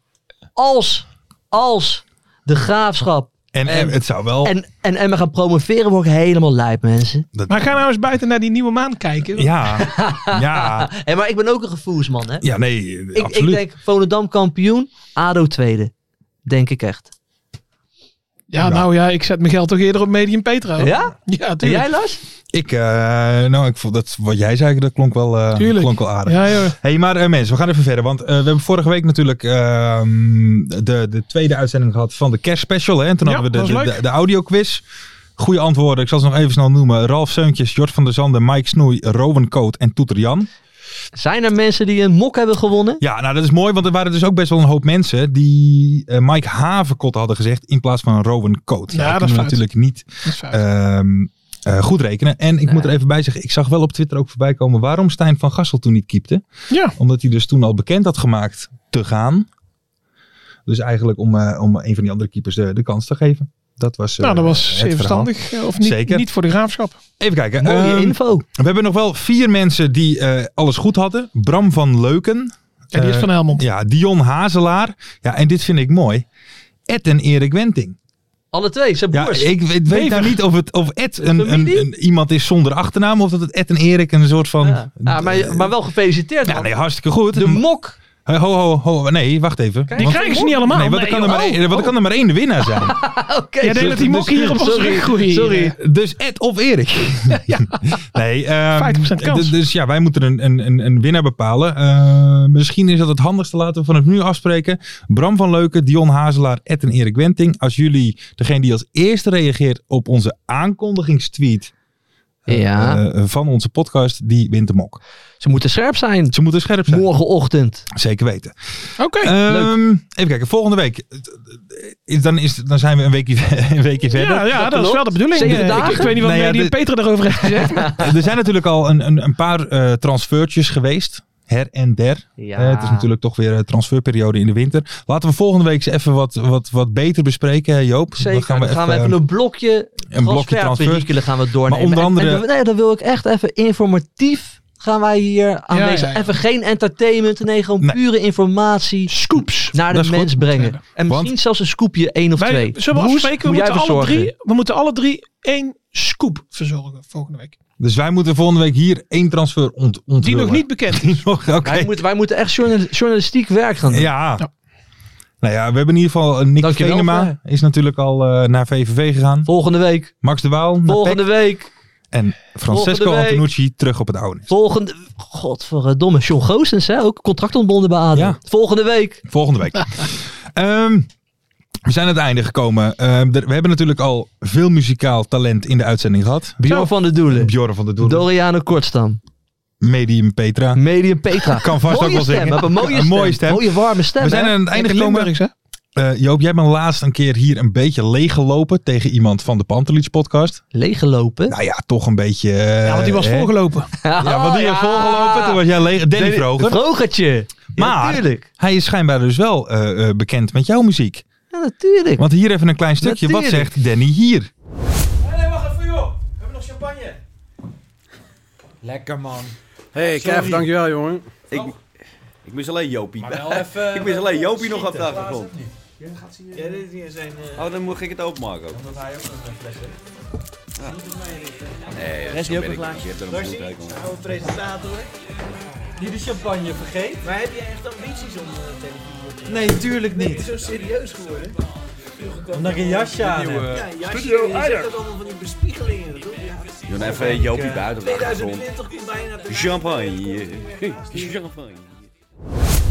Als, als de graafschap en, en het zou wel. en, en Emma gaan promoveren, word ik helemaal lijp, mensen. Maar ga nou eens buiten naar die nieuwe maan kijken. ja, ja, Hé, Ah, maar ik ben ook een gevoelsman, hè. ja, nee, ik, ik absoluut. denk Volendam kampioen, ADO tweede. Denk ik echt. Ja, nou ja, ik zet mijn geld toch eerder op Medium Petra. Oh, hoor. Ja? Ja, En tuurlijk. jij, Lars? Ik, eh, nou, ik vond dat wat jij zei, dat klonk wel, eh, Tuurlijk. klonk wel aardig. Ja, joh. hey, maar eh, mensen, we gaan even verder. Want eh, we hebben vorige week natuurlijk ehm, de, de tweede uitzending gehad van de kerstspecial. Hè? En toen Ja, hadden we dat de, was de, leuk. de, de audioquiz. Goede antwoorden. Ik zal ze nog even snel noemen. Ralf Seuntjes, Jort van der Zanden, Mike Snoei, Rowan Koot en Toeter Jan. Zijn er mensen die een mok hebben gewonnen? Ja, nou dat is mooi, want er waren dus ook best wel een hoop mensen die eh, Mike Havenkot hadden gezegd in plaats van Rowan Koot. Ja, dat kunnen is we fout. natuurlijk niet Dat is fout. ehm, eh, goed rekenen. En ik moet er even bij zeggen, ik zag wel op Twitter ook voorbij komen waarom Stijn van Gassel toen niet keepte. ja. Omdat hij dus toen al bekend had gemaakt te gaan. Dus eigenlijk om, eh, om een van die andere keepers de, de kans te geven. Dat was, eh, Nou, dat het was zeer verhaal. verstandig. Eh, Of niet, Zeker. niet voor de graafschap. Even kijken. Mooie ehm, info. we hebben nog wel vier mensen die eh, alles goed hadden. Bram van Leuken. Ja, die is Eh, van Helmond. Ja, Dion Hazelaar. Ja, en dit vind ik mooi. Ed en Erik Wenting. Alle twee, zijn Ja, broers. ik weet, weet nou niet of, het, of Ed een, een, familie? een- iemand is zonder achternaam. Of dat het Ed en Erik een soort van... Ja. Ah, maar, maar wel gefeliciteerd. Ja, man. nee, hartstikke goed. De mok. Ho, ho, ho. Nee, wacht even. Die krijgen ze niet allemaal. Nee, want er kan er maar joh. Oh. één- want er kan er maar één winnaar [LAUGHS] zijn. Oké. Jij denkt dat die mok hier op ons Sorry, rug groeit. Sorry. Dus Ed of [LAUGHS] Erik. Nee, ehm, 50% kans. d- Dus ja, wij moeten een, een, een, een winnaar bepalen. Eh, misschien is dat het handigste. Laten we vanaf nu afspreken. Bram van Leuken, Dion Hazelaar, Ed en Erik Wenting. Als jullie, degene die als eerste reageert op onze aankondigingstweet eh, Ja. eh, van onze podcast, die wint de mok. Ze moeten scherp zijn. Ze moeten scherp zijn. Morgenochtend. Zeker weten. Oké. Ehm, even kijken, volgende week. Is- Dan, is, dan zijn we een weekje, [LAUGHS] een weekje verder. ja, ja, dat, is klopt. wel de bedoeling. Zeven Eh, ik- dagen? Ik, weet niet wat Nou ja, Medi en dit- Peter daarover heeft gezegd. maar- Er zijn natuurlijk al een, een, een paar eh transfertjes geweest. Her en der. Ja. Eh, het is natuurlijk toch weer een transferperiode in de winter. Laten we volgende week eens even wat, wat, wat beter bespreken, hè, Joop. Zeker. Dan gaan we even, eh, een blokje een blokje transfer. transferperikelen gaan we Maar doornemen. onder En- en andere- dan- nee, dan wil ik echt even informatief gaan wij hier aanwezig ja, ja. even geen entertainment, nee, gewoon Nee. pure informatie Scoops. naar Dat de is mens goed. brengen. En Want- misschien zelfs een scoopje één of Wij, twee. zullen we Roes, afspreken? We moet jij moeten, alle verzorgen. drie, we moeten alle drie één scoop verzorgen volgende week. Dus wij moeten volgende week hier één transfer ont onthullen. Die nog niet bekend is. [LAUGHS] Die nog- Oké. Wij, moeten, wij moeten [LAUGHS] echt journal- journalistiek werk gaan doen. Ja. Ja. Nou ja, we hebben in ieder geval eh, Nick Dankjewel, Venema. Is natuurlijk al eh, naar VVV gegaan. Volgende week. Max de Waal. naar Volgende week. PEC. En Francesco volgende week. Antonucci terug op het oude. nest. Volgende. Godverdomme. John Goossens, hè? Ook contract ontbonden bij ADO. Ja. Volgende week. Volgende [LAUGHS] week. Ehm, we zijn aan het einde gekomen. Ehm, er- we hebben natuurlijk al veel muzikaal talent in de uitzending gehad. Bjorn van de Doelen. Bjorn van der Doelen. Doriano Kortstam. Medium Petra. Medium Petra. Kan [LAUGHS] vast [LAUGHS] mooie ook wel stem, zingen. we hebben Een mooie Een stem. mooie stem. Mooie warme stem. we zijn hè? aan het einde gekomen. Limburgs, hè? Eh, Joop, jij bent laatst een keer hier een beetje leeggelopen tegen iemand van de Pantelich podcast. Leeggelopen. Nou ja, toch een beetje... eh, Ja, want die was hè? voorgelopen. Ja, want die Oh, heeft [LAUGHS] ja. voorgelopen. Toen was jij leeg. Danny Danny- Vroger. Vrogertje. Maar- Ja, natuurlijk. Hij is schijnbaar dus wel eh, eh, bekend met jouw muziek. Ja, natuurlijk. Want hier even een klein stukje. Wat Natuurlijk. zegt Danny hier? Lekker man. Hey, Kev, dankjewel, jongen. Ik, ik mis alleen Jopie. Maar wel even- ik mis alleen wel Jopie nog op de schieten. achtergrond. Oh, dan moet ik het openmaken ook. Omdat hij ook een fles heeft. Nee, dat ben ik niet. Je hebt er een goed rekening mee. Niet de champagne vergeet. Maar heb je echt ambities om televisie te Nee, tuurlijk niet. zo serieus geworden? Omdat ik een jasje aan heb. Ja, ja, Studio Je zegt dat allemaal van die bespiegelingen, toch? Ja. Doe nou even Jopie buiten op de achtergrond. 2020 komt bijna te Champagne. Champagne.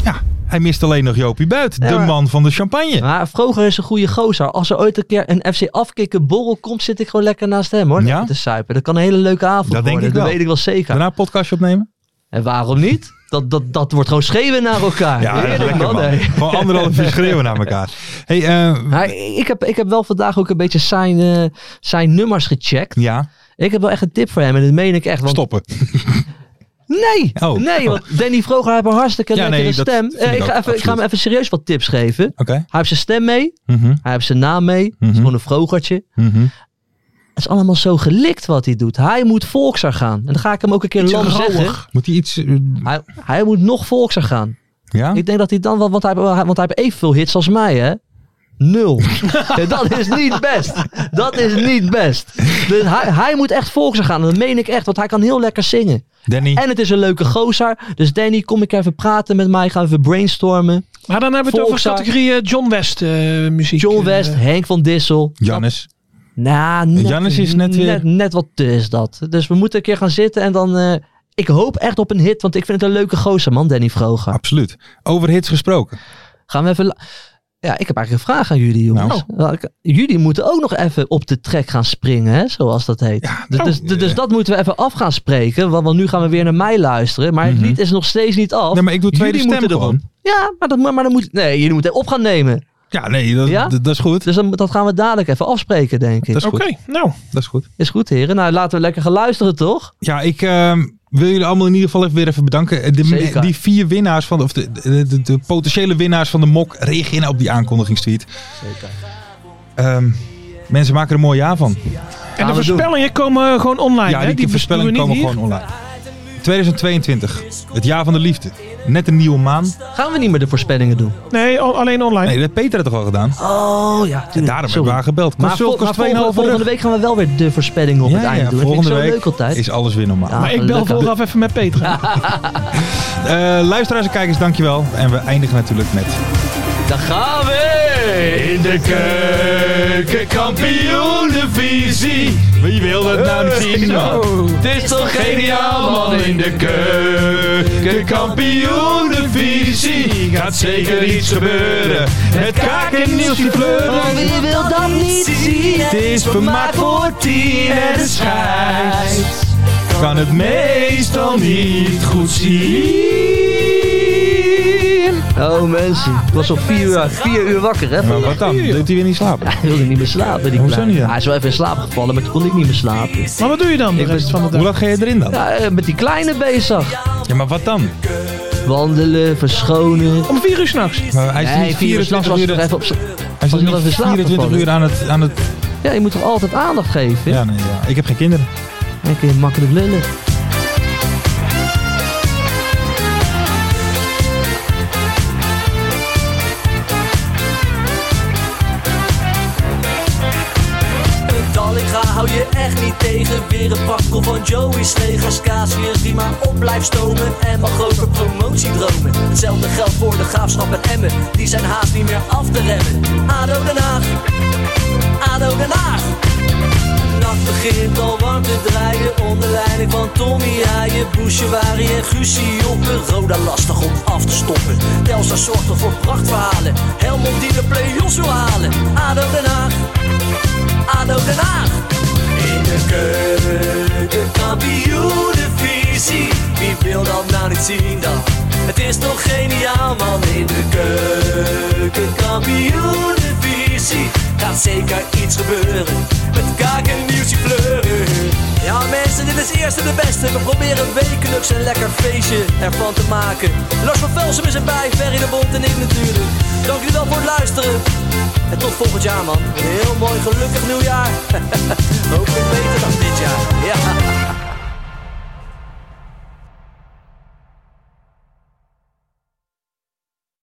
Ja, hij mist alleen nog Joopie Buit. Ja, de maar- man van de champagne. Maar Vroger is een goede gozer. Als er ooit een keer een FC afkikken borrel komt, zit ik gewoon lekker naast hem hoor. Ja? Lekker Te suipen. Dat kan een hele leuke avond Dat denk worden. ik dat wel. weet ik wel zeker. Daarna een podcastje opnemen? En waarom niet? Dat, dat, dat wordt gewoon schreeuwen naar elkaar. Ja, dat is Heerlijk, lekker man. hè. Gewoon anderhalf uur schreeuwen naar elkaar. Hey, eh, Maar ik, heb, ik heb wel vandaag ook een beetje zijn, eh, zijn nummers gecheckt. ja, Ik heb wel echt een tip voor hem. En dat meen ik echt. Want stoppen. Nee, Oh. nee, want Danny Vroger heeft een hartstikke Ja, lekkere nee, dat stem. vind Eh, ik ik, ook, ga even, ik ga hem absoluut. even serieus wat tips geven. Oké. Hij heeft zijn stem mee, Mhm, hij heeft zijn naam mee. Het Mhm. is gewoon een vrogertje. mhm. Het is allemaal zo gelikt wat hij doet. Hij moet volkser gaan. En dan ga ik hem ook een keer lam zeggen. Moet hij iets... eh, Hij, hij moet nog volkser gaan. ja? Ik denk dat hij dan wel, want hij, want hij heeft evenveel hits als mij, hè? [LAUGHS] Nul. En dat is niet best. Dat is niet best. Dus hij, hij moet echt volkser gaan. En dat meen ik echt, want hij kan heel lekker zingen. Danny? [LAUGHS] En het is een leuke gozer. Dus Danny, kom ik even praten met mij. Gaan we even brainstormen. Maar dan hebben we het over Volkszaak. categorie eh, John West eh, muziek. John West, Eh, Henk van Dissel. Jannes? Nou, net, Jannes is net weer- net, net wat te is dat. Dus we moeten een keer gaan zitten en dan... eh, ik hoop echt op een hit, want ik vind het een leuke gozer, man, Danny Vroger. Absoluut. Over hits gesproken. Gaan we even... la- Ja, ik heb eigenlijk een vraag aan jullie, Nou. jongens. Wel, ik- Jullie moeten ook nog even op de trek gaan springen, hè, zoals dat heet. dus, nou, dus, dus- dus eh. dat moeten we even af gaan spreken, want, want nu gaan we weer naar mij luisteren. Maar het Mhm. lied is nog steeds niet af. Nee, maar ik doe tweede Jullie stem moeten erop. gewoon. Ja, maar, dat, maar, maar dan moet... Nee, jullie moeten op gaan nemen. Ja, nee, dat, Ja? dat, dat is goed. Dus dan, dat gaan we dadelijk even afspreken, denk ik. Dat is Oké, goed. nou. Dat is goed. Is goed, heren. Nou, laten we lekker gaan luisteren, toch? Ja, ik ehm, wil jullie allemaal in ieder geval even weer even bedanken. Eh, De, Zeker. die vier winnaars van, de- of de, de, de- de potentiële winnaars van de mok reageren op die aankondigingstweet. Zeker. mensen maken er een mooi jaar van. En de we doen. voorspellingen komen eh, gewoon online. Ah, ja, hè? die, die voorspellingen doen we komen niet gewoon online. 2022, het jaar van de liefde. Net een nieuwe maan. Gaan we niet meer de voorspellingen doen? hier. Nee, al- alleen online. Nee, dat heeft Peter het toch al gedaan? Oh ja, tuurlijk. Daarom Sorry. hebben we haar gebeld. Maar, vol- Consult maar kost 2,5 volgende, volgende week gaan we wel weer de voorspellingen op Ja, het einde ja, doen. Dat vind volgende ik zo week leuk altijd. is alles weer normaal. Ja, maar ik bel gelukkig. vooraf even met Petra. [LAUGHS] Eh, luisteraars en kijkers, dankjewel. En we eindigen natuurlijk met... Daar gaan we! In de keukenkampioenenvisie. Wie wil het nou niet zien, man? Dit is toch Geniaal, man. In de keukenkampioenenvisie. Gaat zeker iets gebeuren. Het kaken Nielsje Want Fleuren. wie wil dat niet zien? Het is vermaakt voor tien en de schijt. Kan het meestal niet goed zien. Oh mensen, ik was op 4 uur, vier uur wakker hè Maar vandaag. wat dan? Doet hij weer niet slapen? Hij wilde niet meer slapen die Hoezo kleine. niet dan? Hij is wel even in slaap gevallen, maar toen kon ik niet meer slapen. Maar wat doe je dan de Ik rest van de Hoe dag? laat ga je erin dan? Ja, eh, met die kleine bezig. Ja, maar wat dan? Wandelen, verschonen. Om vier uur s'nachts. Maar hij is Nee, niet 4 uur 24 s'nachts was uur, ik er even op... hij is was niet nog even slapen 24 gevallen. uur aan het, aan het Ja, je moet toch altijd aandacht geven? Ja, nee, ja. Ik heb geen kinderen. Dan kun je makkelijk lullen. hou je echt niet tegen. Weer een pakkel van Joey's legers. Casius die maar op blijft stomen. En mag over promotie dromen. Hetzelfde geldt voor de graafschap en Emmen. Die zijn haast niet meer af te remmen. Ado Den Haag. Ado Den Haag. De nacht begint al warm te draaien Onder leiding van Tommy Haaien, Bouchewari en Guusje Joppen Roda lastig om af te stoppen Telstar zorgt er voor prachtverhalen Helmond die de play-offs wil halen ADO Den Haag ADO Den Haag In de keukenkampioenenvisie Wie wil dat nou niet zien dan? Het is toch geniaal man In de keukenkampioenenvisie Gaat zeker iets gebeuren Met kaak en nieuwtje fleuren Ja mensen, dit is eerste de beste We proberen wekelijks een lekker feestje ervan te maken Lars van Velsum is erbij, Ferry de Bond en ik natuurlijk Dank jullie wel voor het luisteren En tot volgend jaar man Een heel mooi gelukkig nieuwjaar Hopelijk